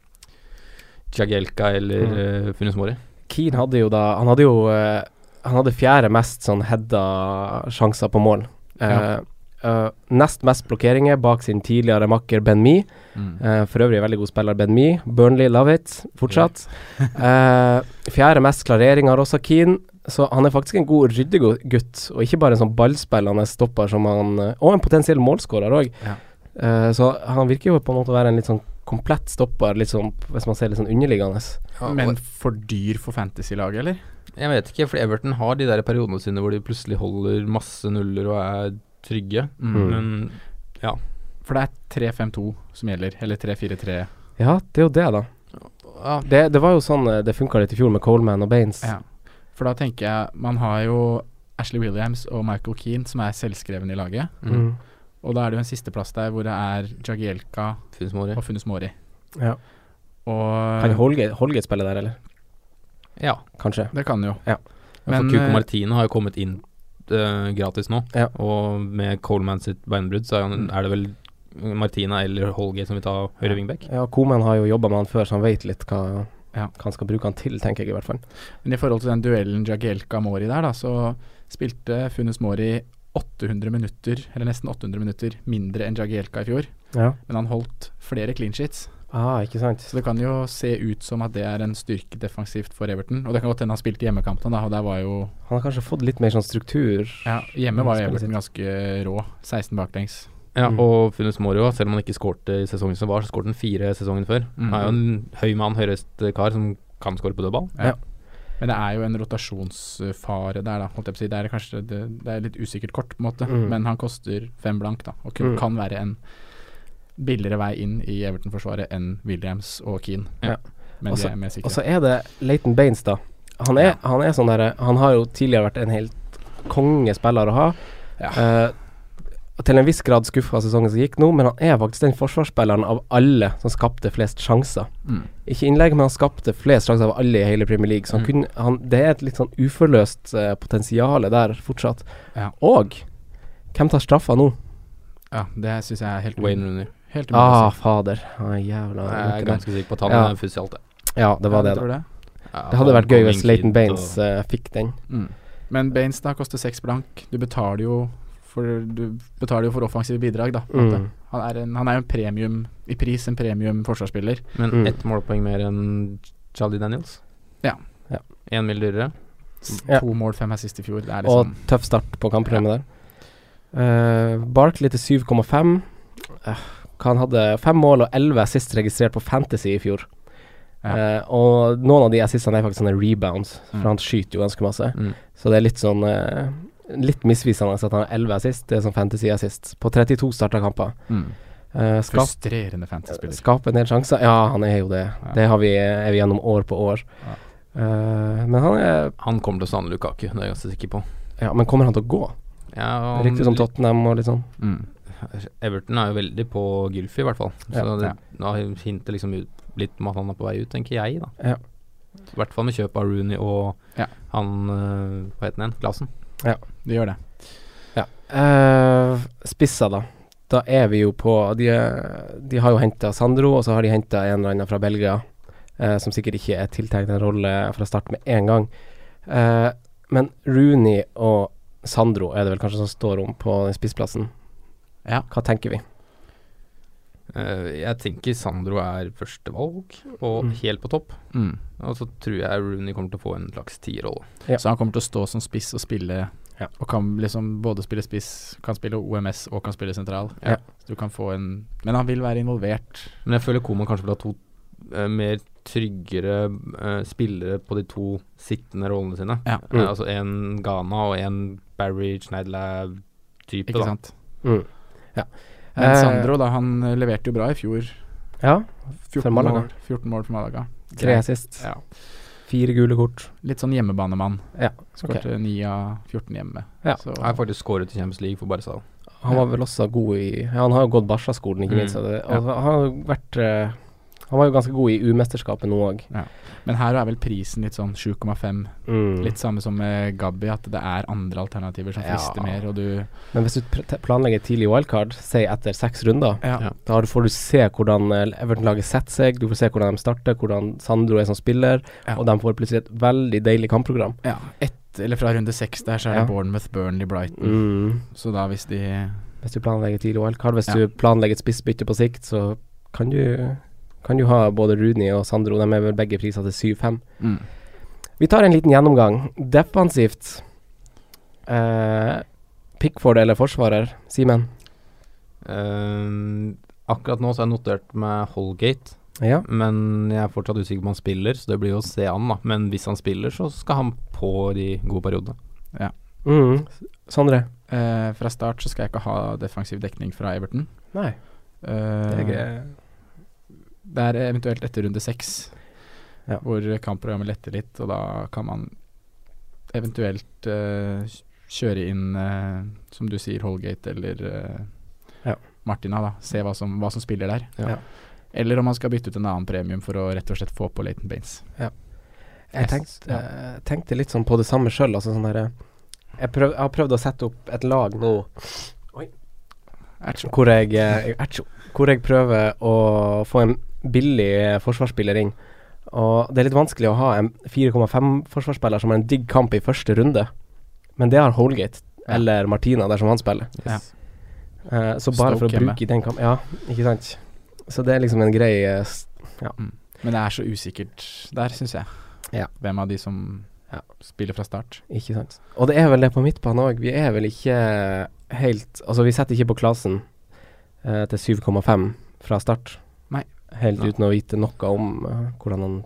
S2: Jagielka eller mm. Funes Mori.
S3: Keane hadde jo da Han hadde jo eh, Han hadde fjerde mest sånn heada sjanser på mål. Eh,
S4: Ja.
S3: eh, nest mest blokkeringer bak sin tidligere makker Ben Me.
S4: Mm.
S3: Eh, for øvrig veldig god spiller Ben Me. Burnley love it fortsatt. Eh, fjerde mest klarering har også Keane. Så han er faktisk en god ryddegutt, og ikke bare en sånn ballspillende stopper som han eh, Og en potensiell målskårer òg.
S4: Ja.
S3: Eh, så han virker jo på en måte å være en litt sånn komplett stopper, litt sånn, hvis man ser litt sånn underliggende.
S2: Mm.
S4: Men for dyr for fantasy-laget, eller?
S2: Jeg vet ikke, for Everton har de der periodene sine hvor de plutselig holder masse nuller og er trygge.
S4: Mm.
S2: Men
S4: For det er 3-5-2 som gjelder, eller 3-4-3.
S3: Ja, det er jo det, da.
S2: ja,
S3: Det, det var jo sånn eh, det funka litt i fjor med Coleman og Baines.
S4: Ja. For da tenker jeg Man har jo Ashley Williams og Michael Keane som er selvskrevne i laget.
S3: Mm.
S4: Og da er det jo en sisteplass der hvor det er Jagielka
S2: Funes Mori.
S4: og Funes Mori.
S3: Ja. Kan
S4: Og
S3: Holgate, Holgate spille der, eller?
S2: Ja.
S3: Kanskje.
S4: Det kan jo.
S3: Ja.
S2: Men,
S4: Men,
S2: for Cuco
S4: eh,
S2: Martino har jo kommet inn eh, gratis nå,
S3: Ja.
S2: og med Coleman sitt beinbrudd, så er, han, er det vel Martina eller Holgate som vil ta høyre wingback.
S3: Ja, Coman har jo jobba med han før, så han veit litt hva,
S4: Ja.
S3: hva han skal bruke han til, tenker jeg i hvert fall.
S4: Men i forhold til den duellen Jagielka-Mori der, da, så spilte Funes Mori 800 minutter, eller nesten 800 minutter, mindre enn Jagielka i fjor.
S3: Ja.
S4: Men han holdt flere clean sheets,
S3: Ah, ikke sant.
S4: så det kan jo se ut som at det er en styrke defensivt for Everton. Og det kan godt hende han spilte hjemmekampene, da, og der var jo
S3: Han har kanskje fått litt mer sånn struktur.
S4: ja, Hjemme var jo
S3: Spillet sitt.
S4: Everton ganske rå. 16 baklengs.
S2: Ja,
S3: Mm.
S2: Og Funes Mori òg, selv om han ikke skårte i sesongen som var, så skårte han fire sesongen før.
S4: Mm.
S2: Han er jo en høy mann, høyreist kar som kan skåre på dødball.
S4: Men det er jo en rotasjonsfare der, da. Holdt jeg på å si. Det er kanskje det, det er litt usikkert kort, på en måte.
S3: Mm.
S4: Men han koster fem blank, da. Og kun,
S3: Mm.
S4: kan være en billigere vei inn i Everton-forsvaret enn Williams og Keane.
S3: Ja.
S4: Men
S3: Også-
S4: de er med
S3: Og
S4: sikkerhet.
S3: så er det Leighton Baines, da. Han er, han er sånn derre Han har jo tidligere vært en helt kongespiller å ha.
S4: Ja.
S3: Eh, og til en viss grad skuffa sesongen som gikk nå, men han er faktisk den forsvarsspilleren av alle som skapte flest sjanser.
S4: Mm.
S3: Ikke innlegg, men han skapte flest sjanser av alle i hele Premier League. Så han
S2: Mm.
S3: kunne, han, det er et litt sånn uforløst uh, potensial der fortsatt.
S4: Ja.
S3: Og hvem tar straffa nå?
S4: Ja, det syns jeg er helt
S2: Wayne Rooney.
S4: Helt umulig.
S3: Ah,
S4: å
S3: fader. Ah, jævla
S2: Jeg er
S3: det.
S2: ganske sikker på at han
S3: Ja.
S2: er fuss i alt, jeg.
S3: Ja, det
S4: si.
S3: var
S4: Ja,
S3: det,
S4: du
S3: da.
S4: tror det.
S2: Ja,
S3: Det hadde
S2: han
S3: vært gøy
S2: kom
S3: hvis
S2: inn
S3: Leighton
S2: fint,
S3: Baines
S2: og-
S3: eh, fikk den.
S4: Mm. Men Baines da koster seks blank. Du betaler jo for, du betaler jo for offensive bidrag, da. på en måte.
S2: Mm.
S4: Han, er en, han er jo en premium i pris, en premium forsvarsspiller.
S2: Men
S3: Mm.
S2: ett målpoeng mer enn Charlie Daniels?
S4: Ja.
S2: Én mil dyrere?
S4: S- To mål, fem assist i fjor. Det er
S3: Mm. Og
S4: liksom
S3: tøff start på kampprogrammet der. Uh, Barkley til 7,5. Eh, han hadde fem mål og elleve assist registrert på Fantasy i fjor. Eh, og noen av de assistene er faktisk sånne rebounds,
S4: Mm.
S3: for han skyter jo ganske masse.
S2: Mm.
S3: Så det er litt sånn eh, Litt misvisende at han har elleve assist. Det er sånn Fantasy-assist. På 32 starta kamper.
S4: Mm.
S3: Eh, skap-
S4: Frustrerende fantasy-spiller.
S3: Skape en del sjanser. Ja, han er jo det. Det har vi, er vi gjennom år på år. Eh, men han er
S2: Han kommer til å savne Lukaku, det er jeg ganske sikker på.
S3: Ja, men kommer han til å gå?
S2: Ja, om-
S3: Riktig som Tottenham og litt sånn.
S4: Mm.
S2: Everton er jo veldig på Gylfi, i hvert fall. Så
S3: Ja.
S2: det, da hinter liksom ut, litt om at han er på vei ut, tenker jeg, da.
S3: Ja.
S2: I hvert fall med kjøp av Rooney og
S4: Ja.
S2: han eh, Hva het han igjen? Glasen.
S3: Ja.
S4: Det gjør det.
S3: Ja. Eh, spisser, da. Da er vi jo på De, de har jo henta Sandro, og så har de henta en eller annen fra Belgia, eh, som sikkert ikke er tiltenkt en rolle fra start med en gang. Eh, men Rooney og Sandro er det vel kanskje som står om på den spissplassen.
S4: Ja.
S3: Hva tenker vi?
S2: Eh, jeg tenker Sandro er førstevalg, og
S4: Mm.
S2: helt på topp.
S4: Mm.
S2: Og så tror jeg Rooney kommer til å få en slags tierrolle.
S4: Så han kommer til å stå som spiss og spille
S3: Ja.
S4: Og kan liksom både spille spiss, kan spille OMS og kan spille sentral.
S2: Ja.
S4: Så du kan få en Men han vil være involvert.
S2: Men jeg føler Koman kanskje vil ha to eh, mer tryggere eh, spillere på de to sittende rollene sine.
S4: Ja.
S2: Eh,
S3: Mm.
S2: altså en Ghana og en Barry Schneidlab-type,
S4: Ikke
S2: da.
S4: sant?
S3: Mm. Ja.
S4: Men
S3: Eh,
S4: Sandro, da, han eh, leverte jo bra i fjor.
S3: Ja,
S4: 14
S3: for Malaga.
S4: mål, 14 mål for Malaga.
S3: Tre assist.
S4: Ja.
S3: Fire gule kort.
S4: Litt sånn hjemmebanemann.
S3: Ja,
S4: Skårte 9 av 14 hjemme.
S3: Ja.
S4: Så,
S2: Jeg har faktisk skåret i Champions League for Barca.
S3: Han var vel også god i ja, Han har jo gått Barca-skolen, ikke
S2: Mm.
S3: minst. Og det-
S2: Ja.
S3: og han har jo vært eh, Han var jo ganske god i U-mesterskapet nå òg.
S4: men her er vel prisen litt sånn 7,5.
S3: Mm.
S4: Litt samme som med Gabby, at det er andre alternativer som
S3: Ja.
S4: frister mer, og du
S3: Men hvis du pr- te- planlegger tidlig wildcard, si etter seks runder,
S4: Ja.
S2: Ja.
S3: da har du- får du se hvordan eh, Everton-laget setter seg, du får se hvordan de starter, hvordan Sandro er som spiller,
S4: Ja.
S3: og de får plutselig et veldig deilig kampprogram.
S4: Ja, ett, eller fra runde seks der, så er
S3: Ja.
S4: det Bournemouth, Burnley, Brighton.
S3: Mm.
S4: Så da hvis de
S3: Hvis du planlegger tidlig wildcard, hvis
S4: Ja.
S3: du planlegger et spissbytte på sikt, så kan du, kan du ha både Rooney og Sandro, de er vel begge priser til 7-5.
S4: Mm.
S3: Vi tar en liten gjennomgang. Defensivt. Eh, Pickford eller forsvarer? Simen?
S2: Ehm, akkurat nå så har jeg notert med Holgate,
S3: Ja.
S2: men jeg er fortsatt usikker på om han spiller, så det blir jo å se an, da. Men hvis han spiller, så skal han på de gode periodene.
S3: Mm. Sondre?
S4: eh, Fra start så skal jeg ikke ha defensiv dekning fra Everton.
S3: Nei.
S4: Eh,
S3: Det er
S4: det er eh, eventuelt etter runde seks,
S3: Ja.
S4: hvor kampprogrammet letter litt, og da kan man eventuelt eh, kjøre inn, eh, som du sier, Holgate eller eh,
S3: Ja.
S4: Martina, da. Se hva som, hva som spiller der.
S3: Ja.
S4: Eller om man skal bytte ut en annen premium for å rett og slett få på Leighton Baines.
S3: Jeg tenkte, eh, tenkte litt sånn på det samme sjøl. Altså sånn derre jeg, prøv, jeg har prøvd å sette opp et lag nå
S4: Ertso.
S3: hvor jeg, eh, ertsjo, hvor jeg prøver å få en billig eh, forsvarsspiller inn. Og det er litt vanskelig å ha en 4,5-forsvarsspiller som har en digg kamp i første runde, men det har Holgate eller Martina dersom han spiller. Eh, så bare for å
S4: Stoke hjemme.
S3: bruke den kampen Ja, ikke sant? Så det er liksom en grei eh, s-
S4: Men det er så usikkert der, syns jeg.
S3: Ja.
S4: Hvem av de som
S3: Ja.
S4: spiller fra start.
S3: Ikke sant. Og det er vel det på midtbanen òg. Vi er vel ikke helt Altså, vi setter ikke på klassen eh, til 7,5 fra start.
S4: Nei.
S3: Helt
S2: Nei.
S3: uten å vite noe om eh, hvordan han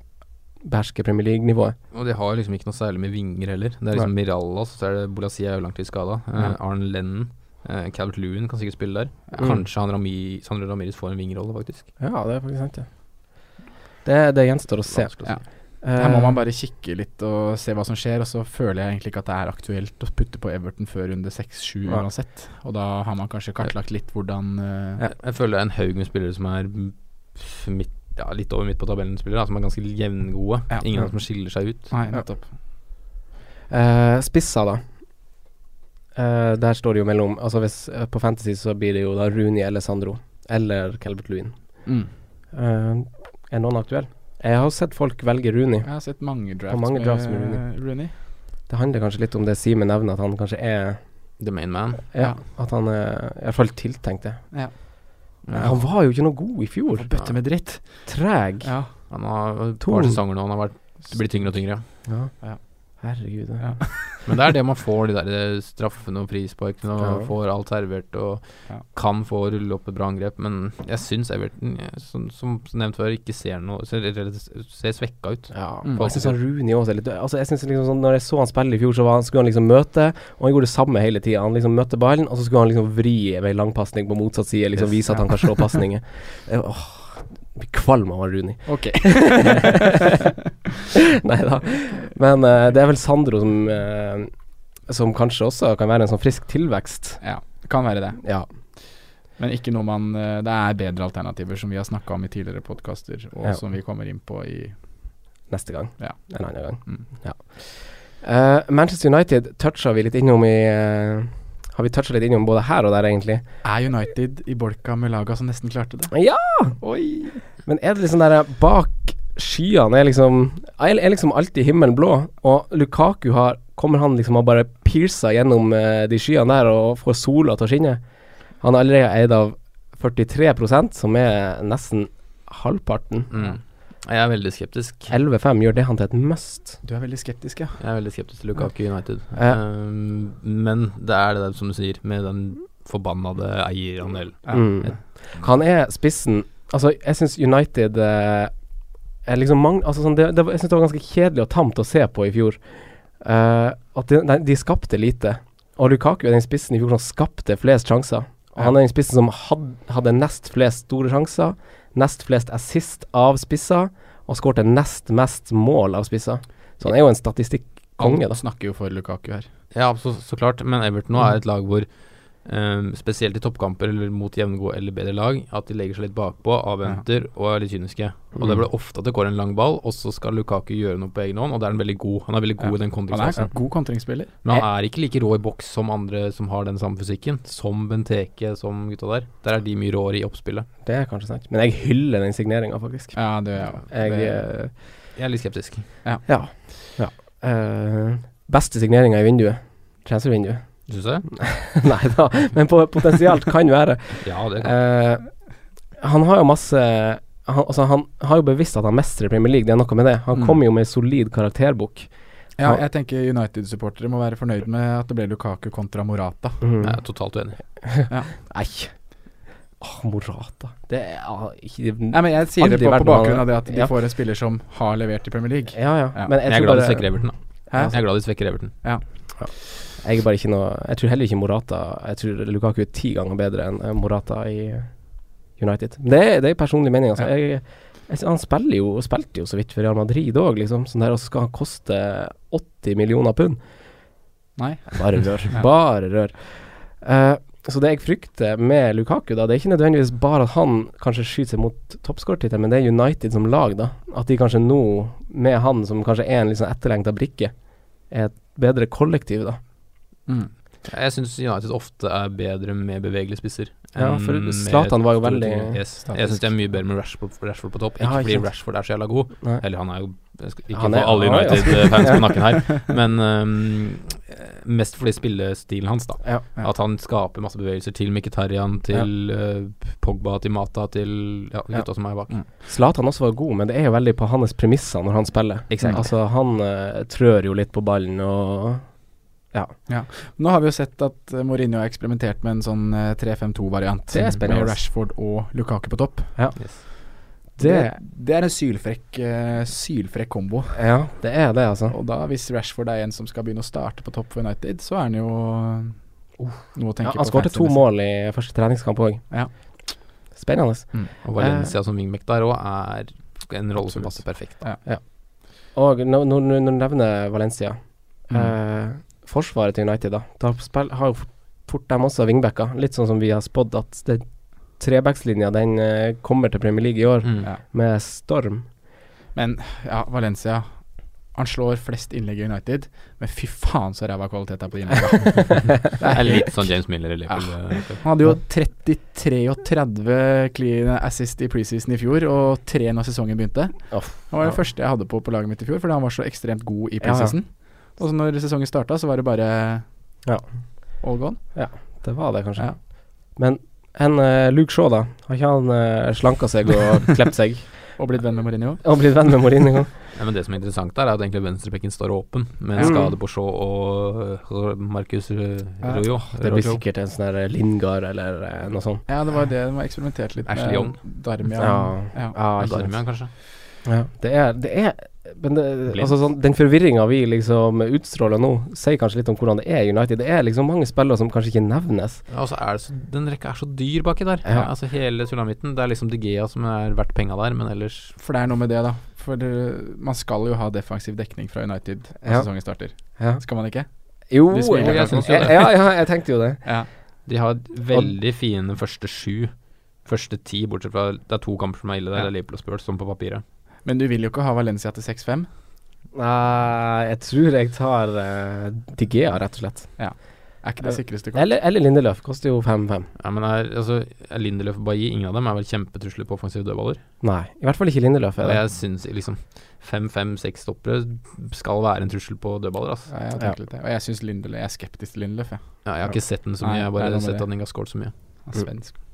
S3: behersker Premier League-nivået.
S2: Og de har liksom ikke noe særlig med vinger heller. Det er liksom Mirallas, så er det Bolasi er jo langtvis skada.
S4: Ja.
S2: Arn Eh, Lennon. Uh, Calvert Lewin kan sikkert spille der.
S3: Mm.
S2: Kanskje han Rami, Sandro Ramirez får en vingerrolle, faktisk.
S3: Ja, det er faktisk sant, det. Det, gjenstår å se.
S2: Vanskelig å si.
S4: Her må man bare kikke litt og se hva som skjer, og så føler jeg egentlig ikke at det er aktuelt å putte på Everton før runde 6-7
S3: Nei.
S4: uansett. Og da har man kanskje kartlagt litt hvordan eh,
S2: Jeg, jeg føler det er en haug med spillere som er m- midt, ja, litt over midt på tabellen, spillere, da, som er ganske jevngode.
S4: Ja.
S2: Ingen av dem som skiller seg ut.
S4: Nei, nettopp.
S3: Eh, Spissa, da. Eh, der står det jo mellom Altså hvis eh, På Fantasy så blir det jo da Rooney eller Sandro. Eller Calvert Lewin.
S4: Mm.
S3: Eh, er noen aktuell? Jeg har sett folk velge Rooney.
S4: Jeg har sett mange drafts,
S3: mange drafts med
S4: Rooney.
S3: Det handler kanskje litt om det Simen nevner, at han kanskje er
S2: The main man.
S3: Ja, at han er i hvert fall tiltenkt det.
S4: Ja.
S3: Men Han var jo ikke noe god i fjor.
S4: Bøtte med dritt.
S3: Treg.
S4: Ja.
S2: Han har et
S3: Torn.
S2: par sesonger nå, han har vært, blitt tyngre og tyngre.
S3: Ja.
S4: Ja.
S3: Herregud.
S4: Ja.
S2: Men det er det man får, de der eh, straffene og frisparkene, og
S3: Ja.
S2: får alt servert og
S4: Ja.
S2: kan få rulle opp et bra angrep. Men jeg syns Everton, eh, som, som nevnt før, ikke ser noe Ser, ser svekka ut.
S3: Ja,
S4: Mm.
S3: og jeg syns Rooney også er litt død. Altså, jeg synes liksom sånn, Når jeg så han spille i fjor, så var han, skulle han liksom møte, og han gjorde det samme hele tida. Han liksom møtte ballen, og så skulle han liksom vri med en langpasning på motsatt side, liksom
S2: Yes,
S3: vise at han kan slå pasninger. Jeg- Åh, jeg blir kvalm av han Rooney.
S4: Ok.
S3: Nei da. Men eh, det er vel Sandro som eh, som kanskje også kan være en sånn frisk tilvekst.
S4: Ja, det kan være det.
S3: Ja.
S4: Men ikke noe man eh, Det er bedre alternativer, som vi har snakka om i tidligere podkaster, og
S3: Ja.
S4: som vi kommer inn på i
S3: Neste gang.
S4: Ja.
S3: En annen gang.
S4: Mm.
S3: Ja. Eh, Manchester United toucha vi litt innom i eh, Har vi toucha litt innom både her og der, egentlig?
S4: Er United i bolka med laga som nesten klarte det?
S3: Ja!
S4: Oi!
S3: Men er det liksom der eh, bak skyene er liksom Er er liksom alltid himmelen blå, og Lukaku har Kommer han liksom og bare piercer gjennom eh, de skyene der og får sola til å skinne? Han er allerede eid av 43 som er nesten halvparten.
S2: Mm. Jeg er veldig skeptisk.
S3: 11-5 gjør det han til et must.
S4: Du er veldig skeptisk, ja.
S2: Jeg er veldig skeptisk til Lukaku United.
S3: Ja.
S2: Um, men det er det der som du sier, med den forbannede eierandelen.
S3: Mm. Han er spissen Altså, jeg syns United eh, er liksom mange altså, sånn, det, det, var- Jeg syns det var ganske kjedelig og tamt å se på i fjor. Eh, at de, nei, de skapte lite. Og Lukaku er den spissen i fjor som skapte flest sjanser. Og han er den spissen som had, hadde nest flest store sjanser, nest flest assist av spisser, og skårte nest mest mål av spisser. Så han er jo en statistikkonge, da.
S4: Alt snakker jo for Lukaku her.
S2: Ja, så, så klart, men Everton nå er et lag hvor um, spesielt i toppkamper eller mot jevngode eller bedre lag, at de legger seg litt bakpå, avventer og er litt kyniske. Og det blir ofte at det går en lang ball, og så skal Lukaku gjøre noe på egen hånd, og det er han veldig god. Han er veldig god i den
S4: Han er sånn.
S2: kontringsfasen.
S4: en god kontringsspiller.
S2: Men han er ikke like rå i boks som andre som har den samme fysikken, som Benteke, som gutta der. Der er de mye råere i oppspillet.
S3: Det er kanskje sant. Men jeg hyller den signeringa, faktisk.
S4: Ja, det er jo
S3: Jeg, eh,
S2: Jeg er litt skeptisk.
S3: Ja. Eh, beste signeringa i vinduet. Transfervinduet.
S2: Syns du?
S3: Nei da, men på, potensielt kan være.
S2: Ja, det kan
S3: Eh, han har jo masse han, altså, han har jo bevisst at han mestrer Premier League, det er noe med det. Han
S4: Mm.
S3: kommer jo med solid karakterbok.
S4: Ja, jeg tenker United-supportere må være fornøyd med at det ble Lukaku kontra Morata.
S3: Mm.
S2: jeg er totalt uenig.
S3: Nei. Åh, Morata. Det er ah, ikke
S4: Nei, men Jeg sier
S3: Aldri
S4: det på,
S3: vært
S4: på bakgrunn
S3: noe-
S4: av det at de
S3: Ja.
S4: får en spiller som har levert i Premier League.
S3: Ja, ja.
S4: Ja.
S3: Men jeg,
S2: Jeg er
S3: tror
S2: glad de
S3: bare,
S2: svekker Everton, da.
S4: Hæ?
S2: Jeg er glad de svekker Everton.
S3: jeg er bare ikke noe Jeg tror heller ikke Morata Jeg tror Lukaku er ti ganger bedre enn eh, Morata i eh, United. Det, er- det er personlig mening, altså.
S4: Ja.
S3: Jeg, jeg, han spiller jo, og spilte jo så vidt for Real Madrid òg, liksom. Sånn der, og så skal han koste 80 millioner pund.
S4: Nei.
S3: Bare rør. Bare rør. Eh, så det jeg frykter med Lukaku, da, det er ikke nødvendigvis bare at han kanskje skyter seg mot toppskårtittelen, men det er United som lag, da. At de kanskje nå, med han som kanskje er en litt sånn etterlengta brikke, er et bedre kollektiv, da.
S2: Jeg syns United ofte er bedre med bevegelige spisser.
S3: Ja,
S2: enn
S3: for
S2: med
S3: Zlatan var jo
S2: store
S3: veldig
S2: tyngde. yes. Jeg syns de er mye bedre med Rashford, Rashford på topp.
S3: Ja, ikke
S2: Ikke fordi
S3: sant.
S2: Rashford er så jævla god,
S3: Nei.
S2: eller han er jo jeg skal Ikke
S3: Han er-
S2: få alle
S3: han er-
S2: United-fans på nakken her, men øhm, mest fordi spillestilen hans, da.
S3: Ja,
S4: ja.
S2: At han skaper masse bevegelser til Mkhitaryan, til øh, Pogba, til Mata, til ja, gutta som er bak.
S3: Mm. Zlatan også var god, men det er jo veldig på hans premisser når han spiller.
S2: Exakt.
S3: Altså, han eh, trør jo litt på ballen og
S4: Nå har vi jo sett at eh, Mourinho har eksperimentert med en sånn eh, 3-5-2-variant.
S3: Det er spennende.
S4: Med Rashford og Lukaku på topp.
S2: Yes.
S4: Det, det er en sylfrekk, eh, sylfrekk kombo.
S3: Ja, det er det, altså.
S4: Og da, hvis Rashford er en som skal begynne å starte på topp for United, så er han jo uh, noe å tenke
S3: Ja,
S4: på.
S3: han skårte
S4: fantasy
S3: to
S4: nesten.
S3: mål i første treningskamp òg.
S4: Ja.
S3: Spennende.
S2: Og
S3: Eh.
S2: Valencia som wingback der òg er en rolle som passer perfekt.
S3: Og når når- når du nevner Valencia
S4: Mm.
S3: eh, Forsvaret til United, da. Da spill, har jo fort- fort dem også wingbacker. Litt sånn som vi har spådd at det- trebackslinja den eh, kommer til Premier League i år,
S2: Mm.
S4: Ja.
S3: med storm.
S4: Men ja, Valencia Han slår flest innlegg i United, men fy faen så ræva kvalitet det er på de innleggene.
S2: Det er litt sånn James Miller i Liverpool. egentlig.
S4: Han hadde jo 33 og 30 clean assist i preseason i fjor, og tre når sesongen begynte.
S3: Uff.
S4: Han var det første jeg hadde på på laget mitt i fjor, fordi han var så ekstremt god i
S3: Ja, ja.
S4: preseason. Og så når sesongen starta, så var det bare
S3: Ja.
S4: all gone.
S3: Ja, det var det kanskje. Men en eh, Luke Shaw, da. Har ikke han uh, slanka seg og klept seg?
S4: og blitt venn med Mourinho?
S3: Og blitt venn med Mourinho.
S2: Nei, men Det som er interessant der, er at egentlig venstrebekken står åpen, med
S3: Ja.
S2: skade på Shaw og øh, Marcus øh, Rojo.
S3: Det blir
S2: Rojo.
S3: sikkert en sånn der Lingard eller eh, noe sånt.
S4: Ja, det var jo det de har eksperimentert litt
S2: Ashley Young.
S4: Darmian.
S3: Ja.
S4: Ja.
S3: Ja, ikke sant.
S2: Darmian, kanskje.
S3: Ja, det er, det er men det,
S2: Blind.
S3: altså sånn, den forvirringa vi liksom utstråler nå, sier kanskje litt om hvordan det er i United. Det er liksom mange spillere som kanskje ikke nevnes.
S2: Ja, og så er det så, Den rekka er så dyr baki der.
S3: Ja.
S2: Ja. altså Hele sulamitten. Det er liksom De Gea som er verdt penga der, men ellers
S4: For det er noe med det, da. For det, man skal jo ha defensiv dekning fra United når
S3: Ja.
S4: sesongen starter.
S3: Ja.
S4: Skal man ikke?
S3: Jo,
S4: De smiler
S3: jeg
S4: kanskje
S3: synes
S4: også,
S3: jo det. Ja, ja, jeg tenkte jo det.
S4: Ja.
S2: De har veldig fine første sju. Første ti, bortsett fra Det er to kamper som er ille der,
S4: Ja.
S2: det er Liverpool og Spurs, som på papiret.
S4: Men du vil jo ikke ha Valencia til 6-5.
S3: Nei, jeg tror jeg tar eh, De Gea, rett og slett.
S4: Ja. Er ikke det sikreste kort?
S3: Eller, eller Lindeløf. Koster jo 5-5.
S2: Ja, men er, altså, Lindelöf og Bailly, ingen av dem er vel kjempetrusler på offensive dødballer.
S3: Nei, i hvert fall ikke Lindeløf.
S2: Og
S3: Er det.
S2: jeg syns liksom fem-fem-seks stoppere skal være en trussel på dødballer, altså.
S4: Ja, jeg, har tenkt litt det. Og jeg, synes Lindeløf, jeg er skeptisk til Lindeløf, jeg.
S2: Ja, jeg har ikke sett den så
S4: Nei,
S2: mye, jeg
S4: det er
S2: har bare
S4: noe med
S2: sett
S4: det.
S2: at den ikke har skåret så mye.
S4: Han er Svensk.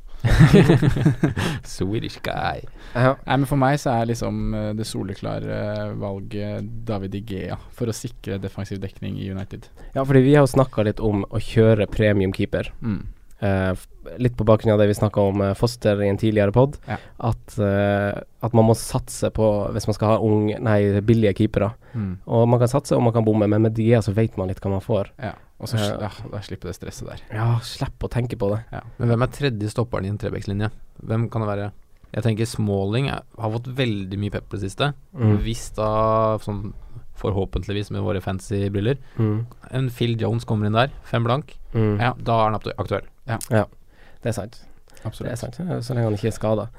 S2: Swedish guy.
S3: Ja.
S4: Nei, men For meg så er liksom eh, det soleklare eh, valget David De Gea for å sikre defensiv dekning i United.
S3: Ja, fordi vi har jo snakka litt om å kjøre premium keeper.
S4: Mm.
S3: Eh, f- litt på bakgrunn av det vi snakka om eh, Foster i en tidligere pod,
S4: Ja.
S3: at, eh, at man må satse på hvis man skal ha ung, nei, billige keepere.
S4: Mm.
S3: Og man kan satse og man kan bomme, men med Dia så vet man litt hva man får.
S4: Ja, og så
S3: Ja.
S4: ja, da slipper det stresset der.
S3: Ja, slipp å tenke på det.
S2: Men hvem er tredje stopperen i en trebekslinje? Hvem kan det være? Jeg tenker Smalling er- har fått veldig mye pepper det siste.
S3: Mm.
S2: Hvis da, sånn forhåpentligvis med våre fancy briller,
S3: Mm.
S2: en Phil Jones kommer inn der, fem blank,
S3: Mm.
S2: ja, da er han aktu- aktuell.
S3: Ja, det er sant. Det er
S4: Absolutt.
S3: sant, så lenge han ikke er skada.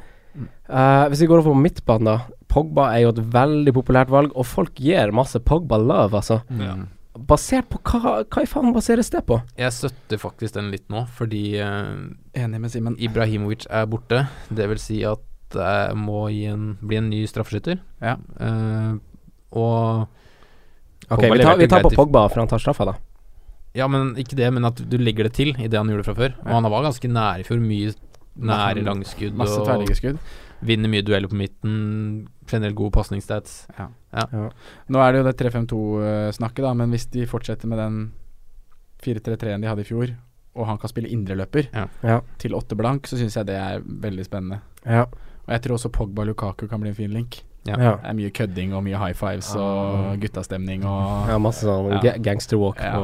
S3: Eh, hvis vi går over på midtbanen, da. Pogba er jo et veldig populært valg, og folk gir masse Pogba-love, altså.
S2: Ja.
S3: Basert på hva, hva i faen baseres det på?
S2: Jeg støtter faktisk den litt nå, fordi eh,
S4: Enig med Simen.
S2: Ibrahimovic er borte. Det vil si at det må gi en, bli en ny straffeskytter.
S4: Ja.
S2: Eh, og
S3: Ok,
S2: Pogba
S3: vi tar,
S2: leverte
S3: vi tar på
S2: greit i-
S3: Pogba, for han tar straffa, da.
S2: Ja, men ikke det, men at du legger det til i det han gjorde fra før. Og han var ganske nær i fjor. Mye nære langskudd
S4: Masse
S2: og
S4: tverrliggerskudd.
S2: vinner mye dueller på midten. Generelt gode pasningsstats.
S4: Nå er det jo det 3-5-2-snakket, da, men hvis de fortsetter med den 4-3-3-en de hadde i fjor, og han kan spille indreløper
S2: Ja.
S3: Ja.
S4: til åtte blank, så syns jeg det er veldig spennende.
S3: Ja.
S4: Og jeg tror også Pogba og Lukaku kan bli en fin link.
S2: Ja.
S3: Ja.
S4: Det er mye kødding og mye high fives og guttastemning og
S3: Ah. ja, masse sånn
S4: Ja.
S3: ga- gangsterwalk
S4: Ja.
S3: på,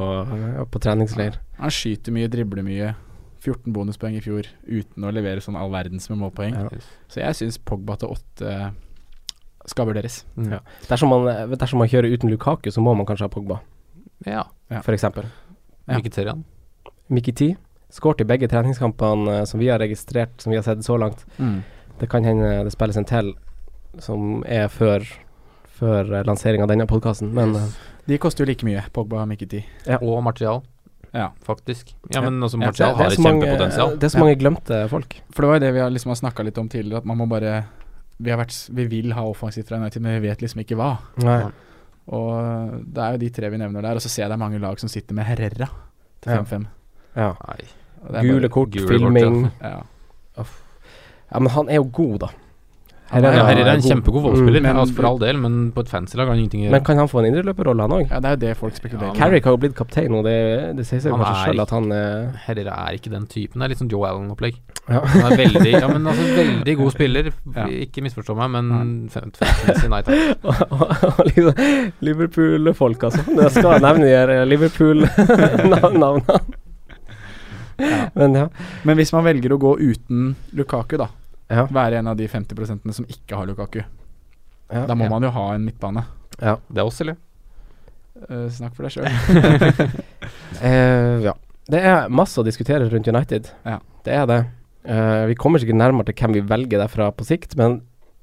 S3: ja, på treningsleir.
S4: Han skyter mye, dribler mye. 14 bonuspoeng i fjor uten å levere sånn all verdens med målpoeng.
S3: Ja.
S4: Så jeg syns Pogba til åtte eh, skal vurderes.
S2: Mm.
S3: Dersom, man, dersom man kjører uten Lukaku, så må man kanskje ha Pogba,
S2: Ja.
S4: Ja.
S3: for eksempel.
S4: Ja.
S2: Mkhitaryan.
S3: Mikiti skåret i begge treningskampene eh, som vi har registrert, som vi har sett så langt. Det kan hende det spilles en til som er før, før eh, lansering av denne podkasten, men eh,
S4: De koster jo like mye, Pogba og Mikiti.
S2: Og Martial,
S4: Ja.
S2: faktisk. Ja, men også
S4: Ja,
S3: det-
S2: Martial har
S3: det er
S2: et
S3: så mange,
S2: kjempepotensial.
S3: Det er så mange glemte folk.
S4: For det var jo det vi har liksom har snakka litt om tidligere, at man må bare Vi, har vært, s- vi vil ha offensivt fra United, men vi vet liksom ikke hva.
S3: Nei.
S4: Og det er jo de tre vi nevner der. Og så ser jeg det er mange lag som sitter med Herrera til
S3: Ja.
S4: 5-5.
S3: Ja.
S2: Nei.
S4: Og det er
S3: Gule kort,
S2: gule kort,
S3: filming
S4: bare- Ja.
S3: Ja, men han er jo god, da.
S4: Han er-
S2: Ja, Herrera er
S3: god.
S2: en kjempegod fotballspiller,
S4: Mm, men-
S2: altså for all del, men på et fancy lag har han ingenting å
S3: Men
S2: gjøre.
S3: kan han få en indreløperrolle, han òg?
S4: ja, det er jo det folk spekulerer
S2: Ja,
S4: i.
S2: men-
S3: Carrick har jo blitt kaptein, og det, det sier seg jo
S2: Han
S3: kanskje
S2: er
S3: sjøl
S2: ikke-
S3: at han eh,
S2: Herrera er ikke den typen. Det er litt sånn Joe Allen-opplegg.
S3: Ja.
S2: Han er veldig, ja, men altså, veldig god spiller.
S4: Ja.
S2: Ikke misforstå meg, men fem- fancy, nei takk.
S3: og liksom Liverpool-folk, altså. Jeg skal nevne de her eh, Liverpool-navnene. Men ja.
S4: Men hvis man velger å gå uten Lukaku, da.
S3: Ja.
S4: Være en av de 50 som ikke har Lukaku.
S3: Ja.
S4: Da må
S2: Ja.
S4: man jo ha en midtbane.
S2: Det er oss, eller?
S4: Eh, snakk for deg sjøl.
S3: Eh, ja. Det er masse å diskutere rundt United.
S4: Ja.
S3: Det er det. Eh, vi kommer sikkert nærmere til hvem vi velger derfra på sikt, men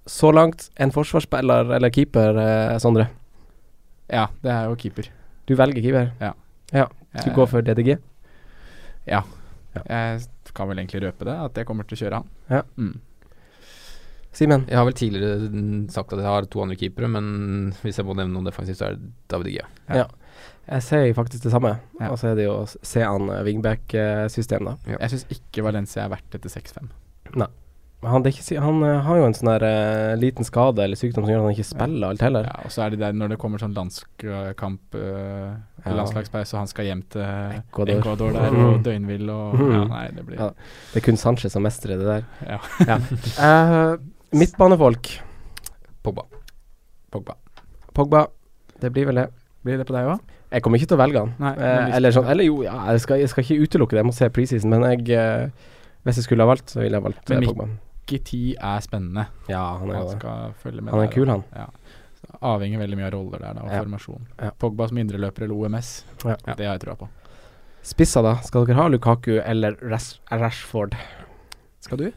S3: så langt en forsvarsspiller eller keeper, eh, Sondre.
S4: Ja, det er jo keeper.
S3: Du velger keeper. Du
S4: Jeg-
S3: går for DDG.
S4: Jeg kan vel egentlig røpe det, at jeg kommer til å kjøre han.
S3: Ja.
S4: Mm.
S3: Simen.
S2: Jeg har vel tidligere mm, sagt at jeg har to andre keepere, men hvis jeg må nevne noen defensivt, så er det David Gea.
S3: Ja. Jeg sier faktisk det samme. Og så er det jo å se an eh, wingback-system, da.
S4: Jeg syns ikke Valencia er verdt dette 6-5.
S3: Nei. Men Han, det er ikke, si- han eh, har jo en sånn der eh, liten skade eller sykdom som gjør at han ikke spiller alt heller.
S4: Ja, og så er det der når det kommer sånn landskamp, øh,
S3: Ja.
S4: landslagspause, og han skal hjem til
S3: Ecuador.
S4: Ecuador, der,
S3: Mm.
S4: og døgnvill og Ja, nei, det blir
S3: Ja, Det er kun Sanchez som mestrer det der.
S4: Ja.
S3: Eh, midtbanefolk.
S6: Pogba.
S4: Pogba.
S3: Pogba. Det blir vel det.
S4: Blir det på deg òg?
S3: Jeg kommer ikke til å velge han.
S4: Nei, men
S3: eh,
S4: hvis-
S3: eller, sånn, eller jo, ja, jeg, skal, jeg skal ikke utelukke det, jeg må se preseason, men jeg eh, Hvis jeg skulle ha valgt, så ville jeg valgt eh,
S4: Men
S3: Pogba.
S4: Mikke 10 er spennende.
S3: Ja, han er jo det.
S4: skal følge med
S3: Han er
S4: der,
S3: kul,
S4: da.
S3: han.
S4: Ja. Så Avhenger veldig mye av roller der, da, og
S3: Ja.
S4: formasjon.
S3: Ja.
S4: Pogba som indreløper eller OMS,
S3: Ja.
S4: det har jeg trua på.
S3: Spissa, da? Skal dere ha Lukaku eller Rash Rashford? Ah.
S4: Skal du?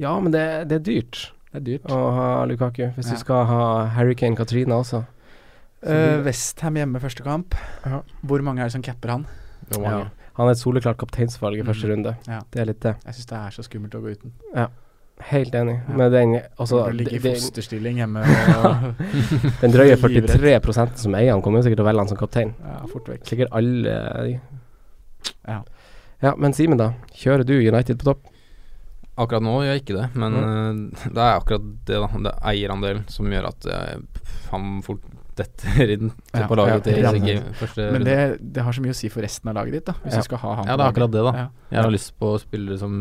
S3: Ja, men det, det er dyrt
S4: Det er dyrt.
S3: å ha Lukaku, hvis
S4: Ja.
S3: du skal ha Hurricane Katrina også.
S4: Uh, Westham hjemme første kamp.
S3: Ja.
S4: Hvor mange er det som capper han?
S6: Det var
S3: Ja.
S6: mange.
S3: Han er et soleklart kapteinsvalg i første runde.
S4: Mm. Ja.
S3: Det er litt det.
S4: Jeg syns det er så skummelt å gå uten.
S3: Helt enig.
S4: Ja.
S3: Men den, altså,
S4: Altså, ligge i
S3: den-
S4: fosterstilling hjemme og
S3: den drøye
S4: Livredd.
S3: 43 som eier han, kommer jo sikkert til å velge han som kaptein.
S4: ja, fort vekk.
S3: Sikkert alle eh, de.
S4: Ja.
S3: Ja, men Simen, da. Kjører du United på topp?
S6: Akkurat nå gjør jeg ikke det, men
S2: Mm.
S6: eh, det er akkurat det, da. Det er eierandelen som gjør at eh, pff, han fort detter inn
S4: Ja,
S6: på laget
S4: ja,
S6: til
S4: ja.
S6: Siggy første
S4: Men det,
S6: runde.
S4: det har så mye å si for resten av laget ditt, da. Hvis
S3: Ja.
S4: du skal ha han
S6: Ja, det
S4: på
S6: er
S4: laget.
S6: akkurat det, da.
S4: Ja.
S6: Jeg har lyst på spillere som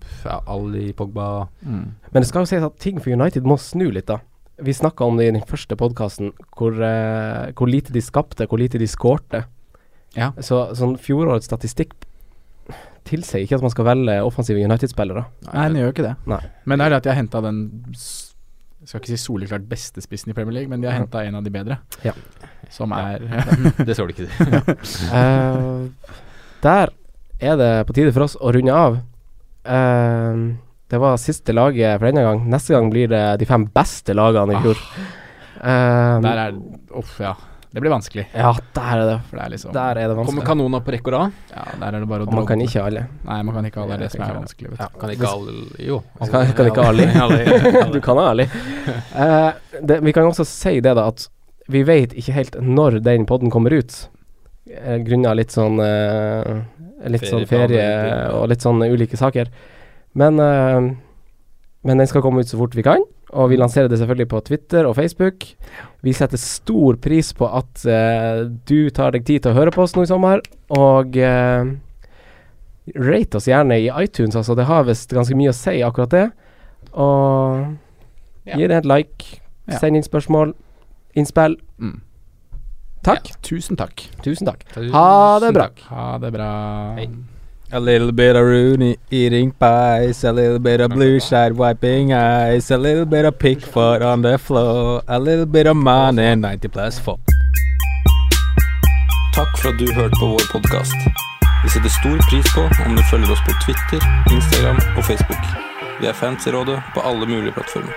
S6: pff, ja, Ali Pogba Mm.
S3: Men det skal jo sies at ting for United må snu litt, da. Vi snakka om det i den første podkasten, hvor, eh, hvor lite de skapte, hvor lite de skårte.
S4: Ja.
S3: Så sånn fjorårets statistikk tilsier ikke at man skal velge offensive United-spillere.
S4: Nei, den gjør jo ikke det.
S3: Nei.
S4: Men det er det at de har henta den s- jeg skal ikke si soleklart beste spissen i Premier League, men de har henta en av de bedre.
S3: Ja.
S4: Som
S6: Ja.
S4: er
S6: Det så du ikke til.
S3: Eh, der er det på tide for oss å runde av. Eh, det var siste laget for denne gang. Neste gang blir det de fem beste lagene i fjor. Eh,
S4: Ah. Der er Uff, ja. Det blir vanskelig.
S3: Ja, der er det.
S4: For det er liksom
S3: Der er det
S6: Kommer
S3: vanskelig.
S6: kanona på rekke og rad?
S4: Ja, der er det bare å
S3: Og man kan
S4: drodle.
S3: ikke alle.
S4: Nei, man kan ikke ha det. Det er det
S3: Jeg
S4: som
S3: kan
S4: er
S3: ikke ha
S4: vanskelig. Vet du.
S6: Kan ikke Ali Jo.
S3: Kan, kan ikke Ali. du kan ha Ali. Eh, det, vi kan også si det, da, at vi vet ikke helt når den podden kommer ut. Eh, Grunnet litt sånn eh, Litt sånn ferie
S6: Ferieplaner, ting.
S3: og litt sånn ulike saker. Men eh, Men den skal komme ut så fort vi kan. Og vi lanserer det selvfølgelig på Twitter og Facebook. Vi setter stor pris på at eh, du tar deg tid til å høre på oss nå i sommer. Og eh, rate oss gjerne i iTunes, altså. Det har visst ganske mye å si, akkurat det. Og gi det et like.
S4: Ja.
S3: Send inn spørsmål. Innspill.
S4: Mm.
S3: Takk.
S4: Tusen takk.
S3: Tusen takk. Ha det bra.
S4: Ha det bra.
S6: Hei.
S7: A little bit of Rooney eating pies, a little bit of blue shot wiping eyes, a little bit of Pickford on the floor, a little bit of mine and 90 plus 4.
S8: Takk for at du hørte på vår podkast. Vi setter stor pris på om du følger oss på Twitter, Instagram og Facebook. Vi er fans i rådet på alle mulige plattformer.